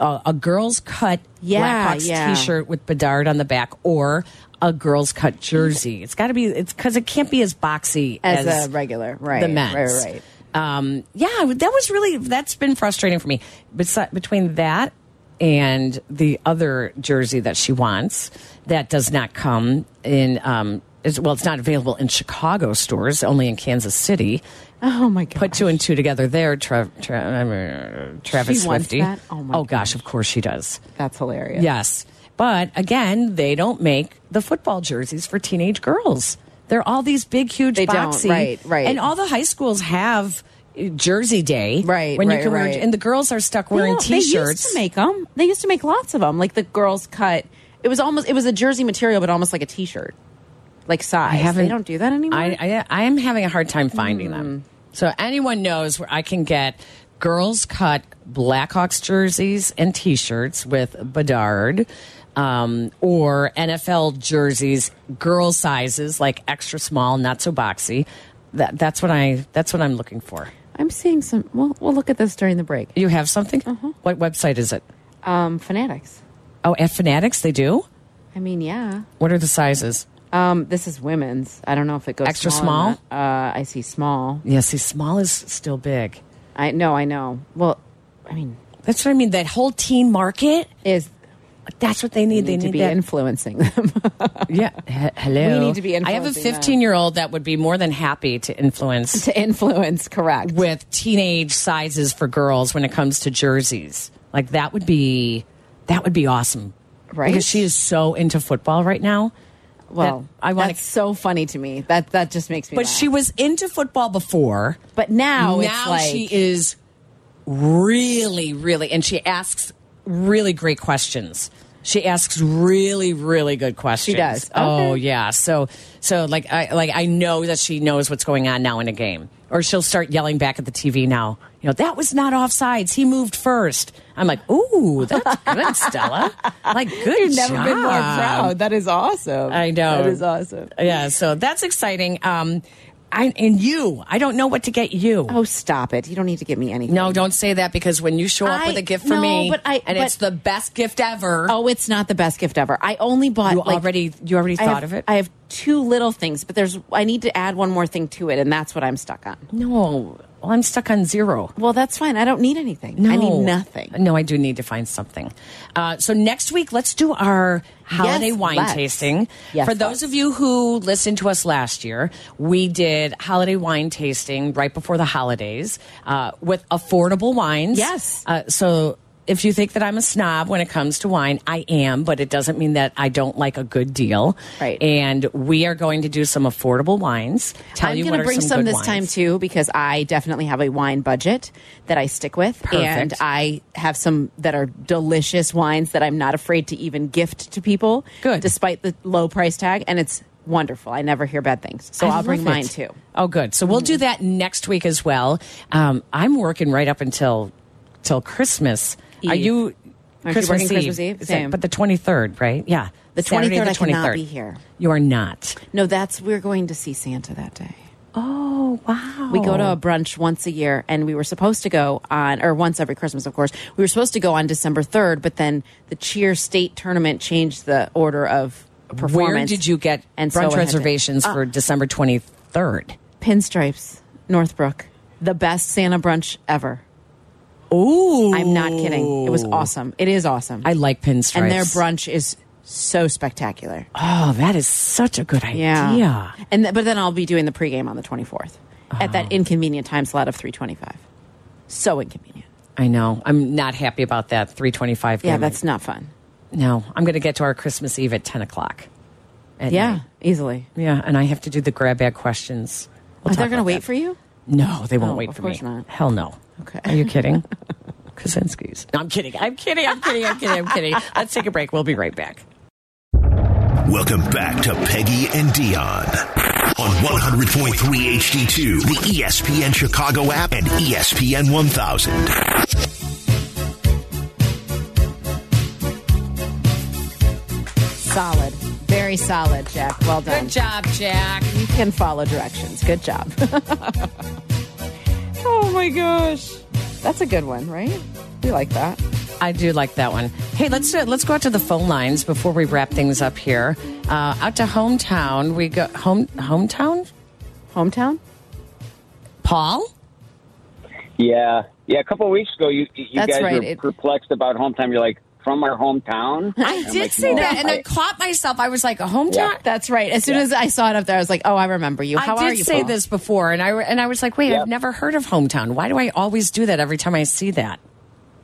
Speaker 3: a, a girl's cut
Speaker 13: Yeah,
Speaker 3: Blackhawks
Speaker 13: yeah.
Speaker 3: t-shirt with Bedard on the back or a girl's cut jersey? It's got to be it's because it can't be as boxy
Speaker 13: As a regular, right,
Speaker 3: The
Speaker 13: right,
Speaker 3: men's,
Speaker 13: right.
Speaker 3: Um, yeah, that was really that's been frustrating for me. Besi between that and the other jersey that she wants, that does not come in. Um, is, well, it's not available in Chicago stores, only in Kansas City.
Speaker 13: Oh my god.
Speaker 3: Put two and two together there, Tra Tra I mean, uh, Travis
Speaker 13: She wants
Speaker 3: Swifty.
Speaker 13: that? Oh my
Speaker 3: gosh, of course she does.
Speaker 13: That's hilarious.
Speaker 3: Yes. But again, they don't make the football jerseys for teenage girls. They're all these big, huge
Speaker 13: They don't,
Speaker 3: boxy.
Speaker 13: right, right.
Speaker 3: And all the high schools have uh, jersey day.
Speaker 13: Right,
Speaker 3: When you
Speaker 13: right,
Speaker 3: can
Speaker 13: right.
Speaker 3: wear and the girls are stuck
Speaker 13: They
Speaker 3: wearing
Speaker 13: don't-
Speaker 3: t
Speaker 13: They used
Speaker 3: shirts.
Speaker 13: to make them. They used to make lots of them. Like the girls cut. It was almost. It was a jersey material, but almost like a t-shirt, like size. They don't do that anymore. Hmm.
Speaker 3: I, I I am having a hard time finding them. So anyone knows where I can get girls cut Blackhawks jerseys and T-shirts with Bedard, um, or NFL jerseys, girl sizes like extra small, not so boxy. That that's what I that's what I'm looking for.
Speaker 13: am seeing some. Well, we'll look at this during the break.
Speaker 3: You have something?
Speaker 13: Uh-huh.
Speaker 3: What website is it?
Speaker 13: Um, Fanatics.
Speaker 3: Oh, at Fanatics they do.
Speaker 13: I mean, yeah.
Speaker 3: What are the sizes?
Speaker 13: Um, this is women's. I don't know if it goes
Speaker 3: Extra
Speaker 13: small. or not. Uh, I see small.
Speaker 3: Yeah, see, small is still big.
Speaker 13: I know. I know. Well, I mean,
Speaker 3: That's what I mean. That whole teen market.
Speaker 13: is
Speaker 3: That's what they need.
Speaker 13: need
Speaker 3: they
Speaker 13: to
Speaker 3: need
Speaker 13: be
Speaker 3: that
Speaker 13: influencing them.
Speaker 3: Yeah. H- hello.
Speaker 13: We need to be
Speaker 3: I have a
Speaker 13: influencing them.
Speaker 3: 15 year old that would be more than happy to influence
Speaker 13: to influence, correct?
Speaker 3: with teenage sizes for girls when it comes to jerseys. Like that would be that would be awesome.
Speaker 13: Right?
Speaker 3: Because she is so into football right now.
Speaker 13: well,
Speaker 3: that I wanna-
Speaker 13: That's so funny to me. That that just makes me.
Speaker 3: But
Speaker 13: laugh.
Speaker 3: she was into football before.
Speaker 13: But now, it's
Speaker 3: now
Speaker 13: like,
Speaker 3: she is really, really, and she asks really great questions. She asks really, really good questions.
Speaker 13: does.
Speaker 3: Oh
Speaker 13: Okay.
Speaker 3: yeah. So, so like, I like I know that she knows what's going on now in a game, or she'll start yelling back at the TV now. You know that was not offsides. He moved first. I'm like, ooh, that's good, Stella. Like, good.
Speaker 13: You've never been more
Speaker 3: job.
Speaker 13: proud. That is awesome.
Speaker 3: I know.
Speaker 13: That is awesome.
Speaker 3: Yeah. So that's exciting. Um, I and you. I don't know what to get you.
Speaker 13: Oh, stop it. You don't need to give me anything.
Speaker 3: No, don't say that because when you show up
Speaker 13: I-
Speaker 3: with a gift for
Speaker 13: no,
Speaker 3: me,
Speaker 13: but I-
Speaker 3: and
Speaker 13: but-
Speaker 3: it's the best gift ever.
Speaker 13: Oh, it's not the best gift ever. I only bought
Speaker 3: you
Speaker 13: like,
Speaker 3: already you already
Speaker 13: I
Speaker 3: thought of
Speaker 13: have-
Speaker 3: it.
Speaker 13: I have two little things, but there's I need to add one more thing to it, and that's what I'm stuck on.
Speaker 3: No, well, I'm stuck on zero.
Speaker 13: Well, that's fine. I don't need anything. I need nothing.
Speaker 3: No, I do need to find something. Uh, so next week, let's do our holiday
Speaker 13: Yes,
Speaker 3: wine
Speaker 13: let's.
Speaker 3: tasting.
Speaker 13: Yes,
Speaker 3: For those
Speaker 13: let's.
Speaker 3: of you who listened to us last year, we did holiday wine tasting right before the holidays uh, with affordable wines.
Speaker 13: Yes.
Speaker 3: Uh, so. If you think that I'm a snob when it comes to wine, I am, but it doesn't mean that I don't like a good deal. Right. And we are going to do some affordable wines. Tell
Speaker 13: I'm
Speaker 3: you
Speaker 13: gonna
Speaker 3: what are
Speaker 13: bring
Speaker 3: some,
Speaker 13: some
Speaker 3: good
Speaker 13: this
Speaker 3: wines.
Speaker 13: time too because I definitely have a wine budget that I stick with, and
Speaker 3: Perfect.
Speaker 13: I have some that are delicious wines that I'm not afraid to even gift to people. Good, despite the low price tag, and it's wonderful. I never hear bad things, so
Speaker 3: I
Speaker 13: will bring
Speaker 3: love
Speaker 13: mine
Speaker 3: it.
Speaker 13: too. Mm.
Speaker 3: Oh, good. So we'll do that next week as well. Um, I'm working right up until till Christmas. Are
Speaker 13: Eve.
Speaker 3: you?
Speaker 13: Aren't you working Christmas Eve?
Speaker 3: Is that-
Speaker 13: Same.
Speaker 3: but the 23rd, right? Yeah,
Speaker 13: The
Speaker 3: Saturday
Speaker 13: 23rd,
Speaker 3: The
Speaker 13: I cannot
Speaker 3: 23rd.
Speaker 13: be here.
Speaker 3: You are not.
Speaker 13: No, that's we're going to see Santa that day.
Speaker 3: Oh wow.
Speaker 13: We go to a brunch once a year, and we were supposed to go on, or once every Christmas, of course. We were supposed to go on December 3rd, but then the Cheer State Tournament changed the order of performance.
Speaker 3: Where did you get
Speaker 13: And so
Speaker 3: brunch
Speaker 13: I had to-
Speaker 3: reservations
Speaker 13: Uh,
Speaker 3: for December 23rd?
Speaker 13: Pinstripes, Northbrook. The best Santa brunch ever.
Speaker 3: Ooh.
Speaker 13: I'm not kidding. It was awesome. It is awesome.
Speaker 3: I like pinstripes.
Speaker 13: And their brunch is so spectacular.
Speaker 3: Oh, that is such a good
Speaker 13: Yeah.
Speaker 3: idea.
Speaker 13: And th but then I'll be doing the pregame on the 24th at
Speaker 3: Oh.
Speaker 13: that inconvenient time slot of 325. So inconvenient.
Speaker 3: I know. I'm not happy about that 325
Speaker 13: Yeah,
Speaker 3: game.
Speaker 13: that's not fun.
Speaker 3: No, I'm going to get to our Christmas Eve at 10 o'clock. at
Speaker 13: yeah,
Speaker 3: night.
Speaker 13: easily.
Speaker 3: Yeah, and I have to do the grab bag questions. We'll
Speaker 13: But they're
Speaker 3: talk
Speaker 13: going to
Speaker 3: about
Speaker 13: wait for you?
Speaker 3: that. No, they won't
Speaker 13: Oh,
Speaker 3: wait
Speaker 13: of
Speaker 3: for
Speaker 13: course
Speaker 3: me.
Speaker 13: not.
Speaker 3: Hell no.
Speaker 13: Okay.
Speaker 3: Are you kidding? Kaczynski's. No, I'm kidding. I'm kidding. I'm kidding. I'm kidding. I'm kidding. Let's take a break. We'll be right back.
Speaker 2: Welcome back to Peggy and Dion on 100.3 HD2, the E ESPN Chicago app, and E ESPN 1000.
Speaker 13: Solid. Very solid, Jack. Well done.
Speaker 3: Good job, Jack.
Speaker 13: You can follow directions. Good job. oh my gosh. That's a good one, right? We like that.
Speaker 3: I do like that one. Hey, let's uh, let's go out to the phone lines before we wrap things up here. Uh, out to hometown. We go home hometown.
Speaker 13: Hometown.
Speaker 3: Paul.
Speaker 18: Yeah, yeah. A couple of weeks ago, you you
Speaker 3: That's
Speaker 18: guys
Speaker 3: right,
Speaker 18: were
Speaker 3: it-
Speaker 18: perplexed about hometown. You're like from our hometown.
Speaker 3: I
Speaker 18: I'm
Speaker 3: did
Speaker 18: like,
Speaker 3: say
Speaker 18: no,
Speaker 3: that, and I
Speaker 18: I-
Speaker 3: caught myself. I was like, a hometown.
Speaker 18: Yeah.
Speaker 13: That's right. As soon as I saw it up there, I was like, "Oh, I remember you. How
Speaker 3: I did
Speaker 13: are you?"
Speaker 3: say
Speaker 13: Paul?
Speaker 3: this before, and I and I was like, wait, I've never heard of hometown. Why do I always do that every time I see that?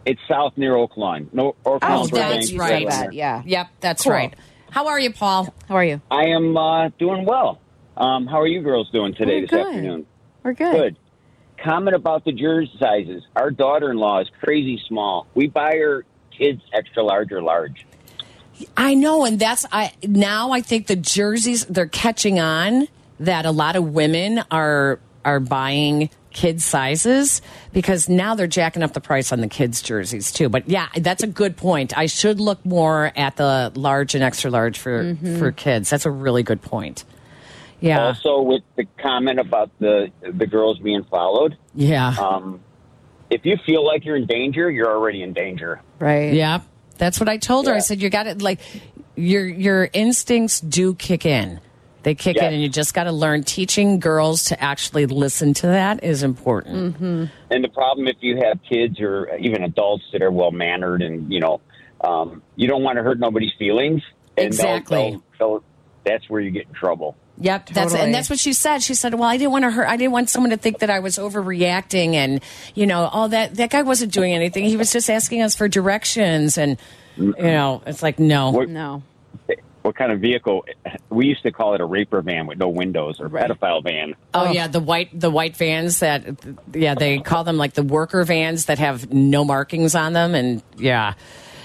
Speaker 18: it's south near Oak Lawn. No, Oak
Speaker 3: Oh,
Speaker 18: Lawn's where
Speaker 3: that's
Speaker 18: Banks is
Speaker 3: right.
Speaker 18: down there.
Speaker 13: Yeah.
Speaker 3: Yep, that's
Speaker 18: Cool.
Speaker 3: right. How are you, Paul?
Speaker 13: How are you?
Speaker 18: I am uh, doing well. Um, how are you girls doing today this afternoon?
Speaker 13: We're good.
Speaker 18: Good. Comment about the jersey sizes. Our daughter-in-law is crazy small. We buy her kids extra large or large.
Speaker 3: I know, and that's I now I think the jerseys they're catching on that a lot of women are are buying kid sizes because now they're jacking up the price on the kids jerseys too. But yeah, that's a good point. I should look more at the large and extra large for
Speaker 18: Mhm.
Speaker 3: for kids. That's a really good point.
Speaker 14: Ah.
Speaker 3: Yeah.
Speaker 18: Also, with the comment about the the girls being followed.
Speaker 3: Yeah.
Speaker 4: Uh,
Speaker 18: Um, if you feel like you're in danger, you're already in danger.
Speaker 13: Right.
Speaker 3: Yeah. That's what I told her. I said you got to like your your instincts do kick in. They kick in and you just got to learn teaching girls to actually listen to that is important.
Speaker 18: And the problem if you have kids or even adults that are well mannered and you know, um, you don't want to hurt nobody's feelings. And
Speaker 3: Exactly.
Speaker 18: So that's where you get in trouble.
Speaker 3: Yep, that's
Speaker 18: Totally.
Speaker 3: and that's what she said. She said, "Well, I didn't want to hurt. I didn't want someone to think that I was overreacting, and you know, all that that guy wasn't doing anything. He was just asking us for directions, and you know, it's like no,
Speaker 13: no,
Speaker 18: What kind of vehicle? We used to call it a raper van with no windows or pedophile van.
Speaker 3: Oh, yeah, the white the white vans that yeah they call them like the worker vans that have no markings on them and yeah.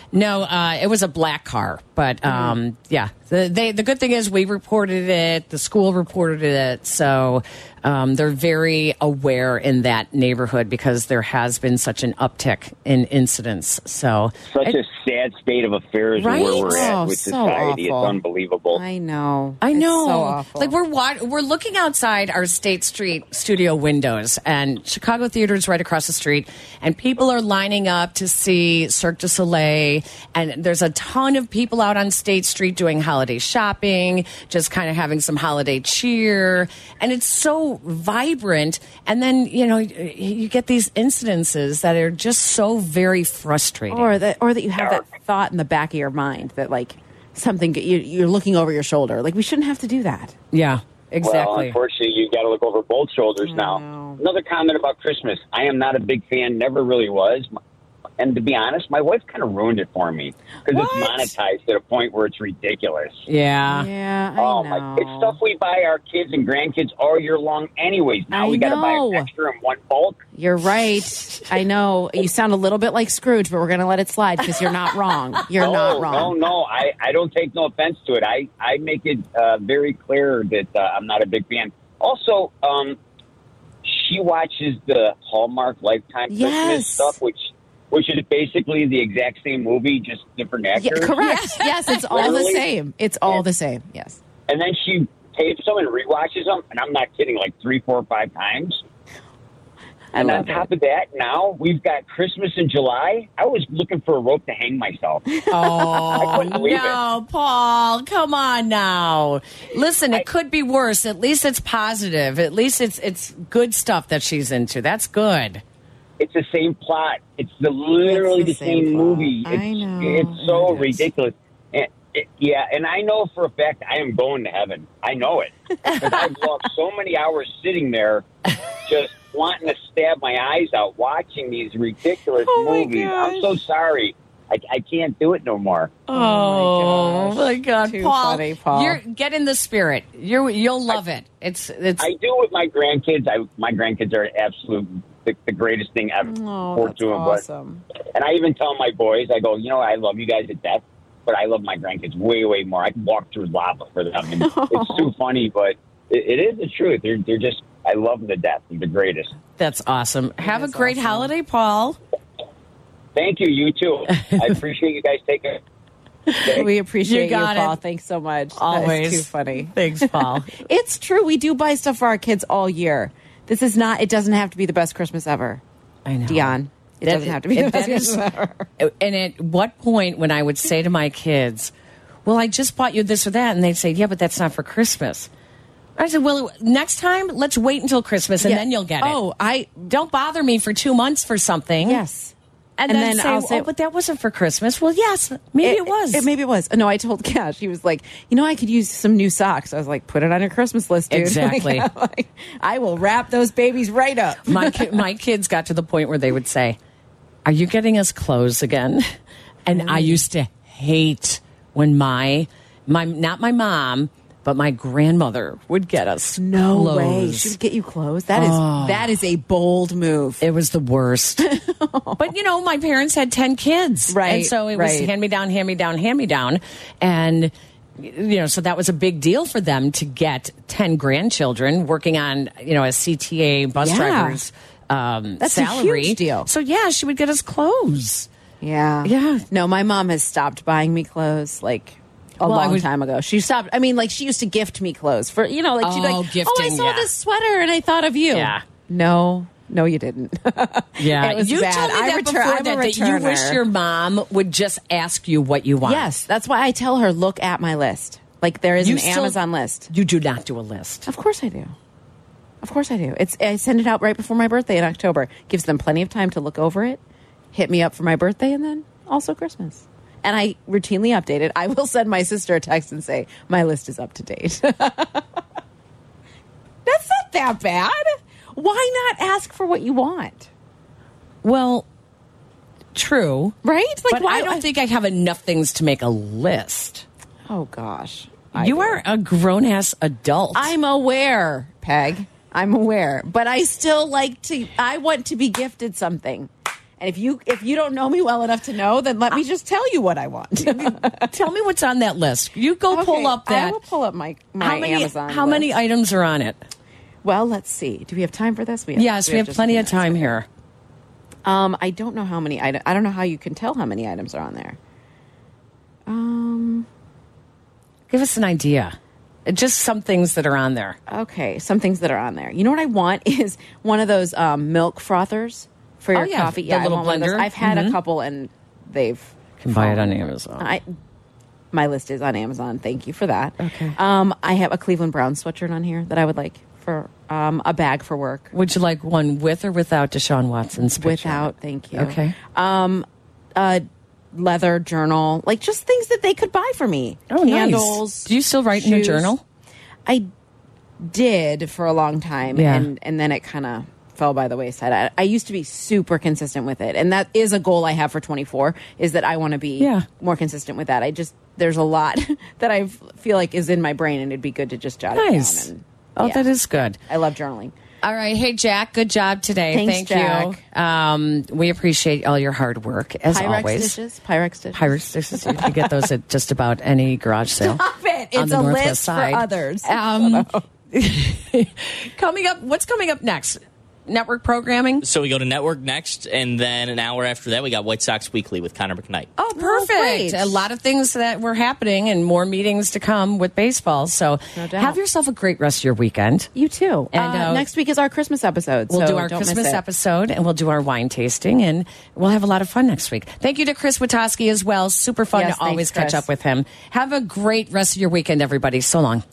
Speaker 3: No, uh, it was a black car, but um, yeah. The, they, the good thing is we reported it. The school reported it, so um, they're very aware in that neighborhood because there has been such an uptick in incidents. So
Speaker 18: Such
Speaker 3: it-
Speaker 18: a sad state of affairs
Speaker 3: Right?
Speaker 18: where we're at
Speaker 3: Oh,
Speaker 18: with
Speaker 3: so
Speaker 18: society.
Speaker 3: awful.
Speaker 18: It's unbelievable.
Speaker 13: I know.
Speaker 3: I know.
Speaker 13: so awful.
Speaker 3: Like we're wa- we're looking outside our State Street studio windows, and Chicago Theater is right across the street, and people are lining up to see Cirque du Soleil, and there's a ton of people out on State Street doing holiday. holiday shopping, just kind of having some holiday cheer. And it's so vibrant. And then, you know, you, you get these incidences that are just so very frustrating.
Speaker 13: or that or that you have that thought in the back of your mind that like something you, you're looking over your shoulder like we shouldn't have to do that
Speaker 3: yeah
Speaker 18: Well, unfortunately, you got to look over both shoulders now. Another comment about Christmas. I am not a big fan. Never really was. And to be honest, my wife kind of ruined it for me because it's monetized to the point where it's ridiculous.
Speaker 3: Yeah.
Speaker 13: Yeah.
Speaker 18: oh my! It's stuff we buy our kids and grandkids all year long, anyways. Now
Speaker 13: I
Speaker 18: we got to buy
Speaker 13: know.
Speaker 18: an extra in one bulk.
Speaker 13: You're right. I know you sound a little bit like Scrooge, but we're going to let it slide because you're not wrong. You're
Speaker 18: no,
Speaker 13: not wrong.
Speaker 18: No, no, I, I don't take no offense to it. I, I make it uh, very clear that uh, I'm not a big fan. Also, um, she watches the Hallmark Lifetime Christmas stuff, which which is basically the exact same movie, just different
Speaker 13: Yeah,
Speaker 18: actors.
Speaker 13: correct. Yes, it's all the
Speaker 18: Literally.
Speaker 13: same. It's all the same. Yes.
Speaker 18: And then she tapes them and rewatches them, and I'm not kidding, like three, four, five times.
Speaker 13: I
Speaker 18: and on
Speaker 13: love it.
Speaker 18: top of that, now we've got Christmas in July. I was looking for a rope to hang myself. I
Speaker 3: Oh
Speaker 18: couldn't believe it.
Speaker 3: no, Paul! Come on now. Listen, it could be worse. At least it's positive. At least it's it's good stuff that she's into. That's good.
Speaker 18: It's the same plot. It's the literally the, same, movie. It's, I know. It's so ridiculous. And it, yeah, and I know for a fact I am going to heaven. I know it because I've lost so many hours sitting there, just wanting to stab my eyes out watching these ridiculous movies. I'm so sorry. I, I can't do it no more.
Speaker 3: Oh, my God,
Speaker 18: Too
Speaker 3: Paul!
Speaker 18: funny, Paul.
Speaker 3: You're get in the spirit. You you'll love it. It's it's.
Speaker 18: I do with my grandkids. I my grandkids are absolute the, the greatest thing ever.
Speaker 3: Oh,
Speaker 18: Pour
Speaker 3: that's
Speaker 18: to 'em,
Speaker 3: awesome.
Speaker 18: But, and I even tell my boys, I go, you know, I love you guys to death, but I love my grandkids way, way more. I can walk through lava for them. And it's too funny, but it, it is the truth. They're they're just I love them to death. They're the greatest.
Speaker 3: that's awesome. Have a great holiday, Paul.
Speaker 18: Thank you. You too. I appreciate you guys taking.
Speaker 13: We appreciate you,
Speaker 3: You got it.
Speaker 13: Paul. Thanks so much. That is
Speaker 3: Always
Speaker 13: too funny.
Speaker 3: Thanks, Paul.
Speaker 13: It's true. We do buy stuff for our kids all year. This is not, it doesn't have to be the best Christmas ever.
Speaker 3: I know.
Speaker 13: Dion, it
Speaker 3: That-
Speaker 13: doesn't have to be the
Speaker 3: that
Speaker 13: best
Speaker 3: is-
Speaker 13: Christmas ever.
Speaker 3: And at what point when I would say to my kids, "Well, I just bought you this or that," and they'd say, "Yeah, but that's not for Christmas." I said, "Well, next time, let's wait until Christmas, and
Speaker 13: Yeah.
Speaker 3: then you'll get it."
Speaker 13: Oh,
Speaker 3: I don't bother me for two months for something.
Speaker 13: Yes.
Speaker 3: and, then, say,
Speaker 13: I'll
Speaker 3: "Oh, but that wasn't for Christmas." Well, yes, maybe it, was.
Speaker 13: It, maybe it was. No, I told Cash. He was like, you know, I could use some new socks. I was like, put it on your Christmas list, dude.
Speaker 3: Exactly.
Speaker 13: Like, I will wrap those babies right up.
Speaker 3: my ki my kids got to the point where they would say, "Are you getting us clothes again?" And I used to hate when my my not my mom, but my grandmother would get us
Speaker 13: No
Speaker 3: clothes.
Speaker 13: way. She would get you clothes. That is
Speaker 3: Oh.
Speaker 13: that is a bold move.
Speaker 3: It was the worst. but you know, my parents had 10 kids.
Speaker 13: Right,
Speaker 3: And so it
Speaker 13: right.
Speaker 3: was hand me down, hand me down, hand me down. And, you know, so that was a big deal for them to get 10 grandchildren working on, you know, a CTA bus
Speaker 13: Yeah.
Speaker 3: driver's um,
Speaker 13: That's a
Speaker 3: salary.
Speaker 13: huge deal.
Speaker 3: So yeah, she would get us clothes.
Speaker 13: Yeah.
Speaker 3: Yeah.
Speaker 13: No, my mom has stopped buying me clothes like a
Speaker 3: Well, I
Speaker 13: long
Speaker 3: would-
Speaker 13: time ago. She stopped. I mean, like she used to gift me clothes for you know, like she'd be
Speaker 3: Oh,
Speaker 13: like, "Oh, I
Speaker 3: gifting,
Speaker 13: saw
Speaker 3: yeah.
Speaker 13: this sweater and I thought of you."
Speaker 3: Yeah.
Speaker 13: No, no, you didn't.
Speaker 3: Yeah,
Speaker 13: It was
Speaker 3: you
Speaker 13: bad.
Speaker 3: told me
Speaker 13: I
Speaker 3: that
Speaker 13: return-
Speaker 3: before
Speaker 13: I'm a
Speaker 3: that, that you wish
Speaker 13: returner.
Speaker 3: your mom would just ask you what you want.
Speaker 13: yes, that's why I tell her look at my list. Like there is
Speaker 3: You
Speaker 13: an
Speaker 3: still-
Speaker 13: Amazon list.
Speaker 3: you do not do a list.
Speaker 13: Of course I do. Of course I do. It's I send it out right before my birthday in October. Gives them plenty of time to look over it, hit me up for my birthday, and then also Christmas. And I routinely update it. I will send my sister a text and say my list is up to date. That's not that bad. Why not ask for what you want?
Speaker 3: Well, true,
Speaker 13: right? Like,
Speaker 3: but
Speaker 13: why
Speaker 3: I don't think I have enough things to make a list.
Speaker 13: Oh gosh,
Speaker 3: you are a grown ass adult.
Speaker 13: I'm aware, Peg. I'm aware, but I still like to. I want to be gifted something. And if you if you don't know me well enough to know, then let me just tell you what I want.
Speaker 3: Tell me what's on that list. You go
Speaker 13: Okay,
Speaker 3: pull up
Speaker 13: I
Speaker 3: that.
Speaker 13: will pull up my my
Speaker 3: how many
Speaker 13: Amazon.
Speaker 3: how many
Speaker 13: list.
Speaker 3: items are on it?
Speaker 13: Well, let's see. Do we have time for this? We
Speaker 3: yes, we have
Speaker 13: just a
Speaker 3: plenty
Speaker 13: few
Speaker 3: of time here.
Speaker 13: minutes. Um, I don't know how many items. I don't know how you can tell how many items are on there. Um.
Speaker 3: Give us an idea. Uh, Just some things that are on there.
Speaker 13: Okay, some things that are on there. You know what I want is one of those um, milk frothers for
Speaker 3: Oh,
Speaker 13: your
Speaker 3: yeah,
Speaker 13: coffee.
Speaker 3: the
Speaker 13: Yeah, I
Speaker 3: little Mm-hmm.
Speaker 13: want one of those.
Speaker 3: blender.
Speaker 13: I've had
Speaker 3: Mhm.
Speaker 13: Oh. a couple and they've
Speaker 3: Can buy it on Amazon.
Speaker 13: I my list is on Amazon. Thank you for that.
Speaker 3: Okay.
Speaker 13: Um, I have a Cleveland Browns sweatshirt on here that I would like for um, a bag for work.
Speaker 3: Would you like one with or without Deshaun Watson's picture?
Speaker 13: Without, thank you.
Speaker 3: Okay.
Speaker 13: Um, a leather journal, like just things that they could buy for me.
Speaker 3: Oh, nice.
Speaker 13: Candles.
Speaker 3: Do you still write in your
Speaker 13: shoes.
Speaker 3: journal?
Speaker 13: I did for a long time,
Speaker 3: Yeah.
Speaker 13: and and then it kind of fell by the wayside. I, I used to be super consistent with it, and that is a goal I have for 24. Is that I want to be
Speaker 3: Yeah.
Speaker 13: more consistent with that. I just there's a lot that I feel like is in my brain, and it'd be good to just jot it
Speaker 3: Nice.
Speaker 13: down. And
Speaker 3: Oh,
Speaker 13: yeah.
Speaker 3: that is good.
Speaker 13: I love journaling.
Speaker 3: All right. Hey, Jack, good job today.
Speaker 13: Thanks,
Speaker 3: Thank
Speaker 13: Jack.
Speaker 3: you. Um, we appreciate all your hard work, as
Speaker 13: Pyrex
Speaker 3: always.
Speaker 13: dishes. Pyrex dishes.
Speaker 3: Pirates dishes. You can get those at just about any garage sale.
Speaker 13: Stop it.
Speaker 3: on
Speaker 13: It's
Speaker 3: the
Speaker 13: a
Speaker 3: Northwest
Speaker 13: list for
Speaker 3: side.
Speaker 13: others.
Speaker 3: Um, coming up, what's coming up next? Network programming.
Speaker 14: So we go to network next, and then an hour after that, we got White Sox Weekly with Connor McKnight.
Speaker 3: Oh, perfect.
Speaker 13: great.
Speaker 3: a lot of things that were happening and more meetings to come with baseball. So
Speaker 13: No doubt.
Speaker 3: have yourself a great rest of your weekend.
Speaker 13: You too.
Speaker 3: And,
Speaker 13: uh,
Speaker 3: uh,
Speaker 13: next week is our Christmas episode.
Speaker 3: We'll
Speaker 13: so
Speaker 3: do our
Speaker 13: don't miss
Speaker 3: Christmas
Speaker 13: it.
Speaker 3: episode and we'll do our wine tasting and we'll have a lot of fun next week. Thank you to Chris Witowski as well. Super fun
Speaker 13: Yes,
Speaker 3: to always catch
Speaker 13: thanks, Chris.
Speaker 3: up with him. Have a great rest of your weekend, everybody. So long.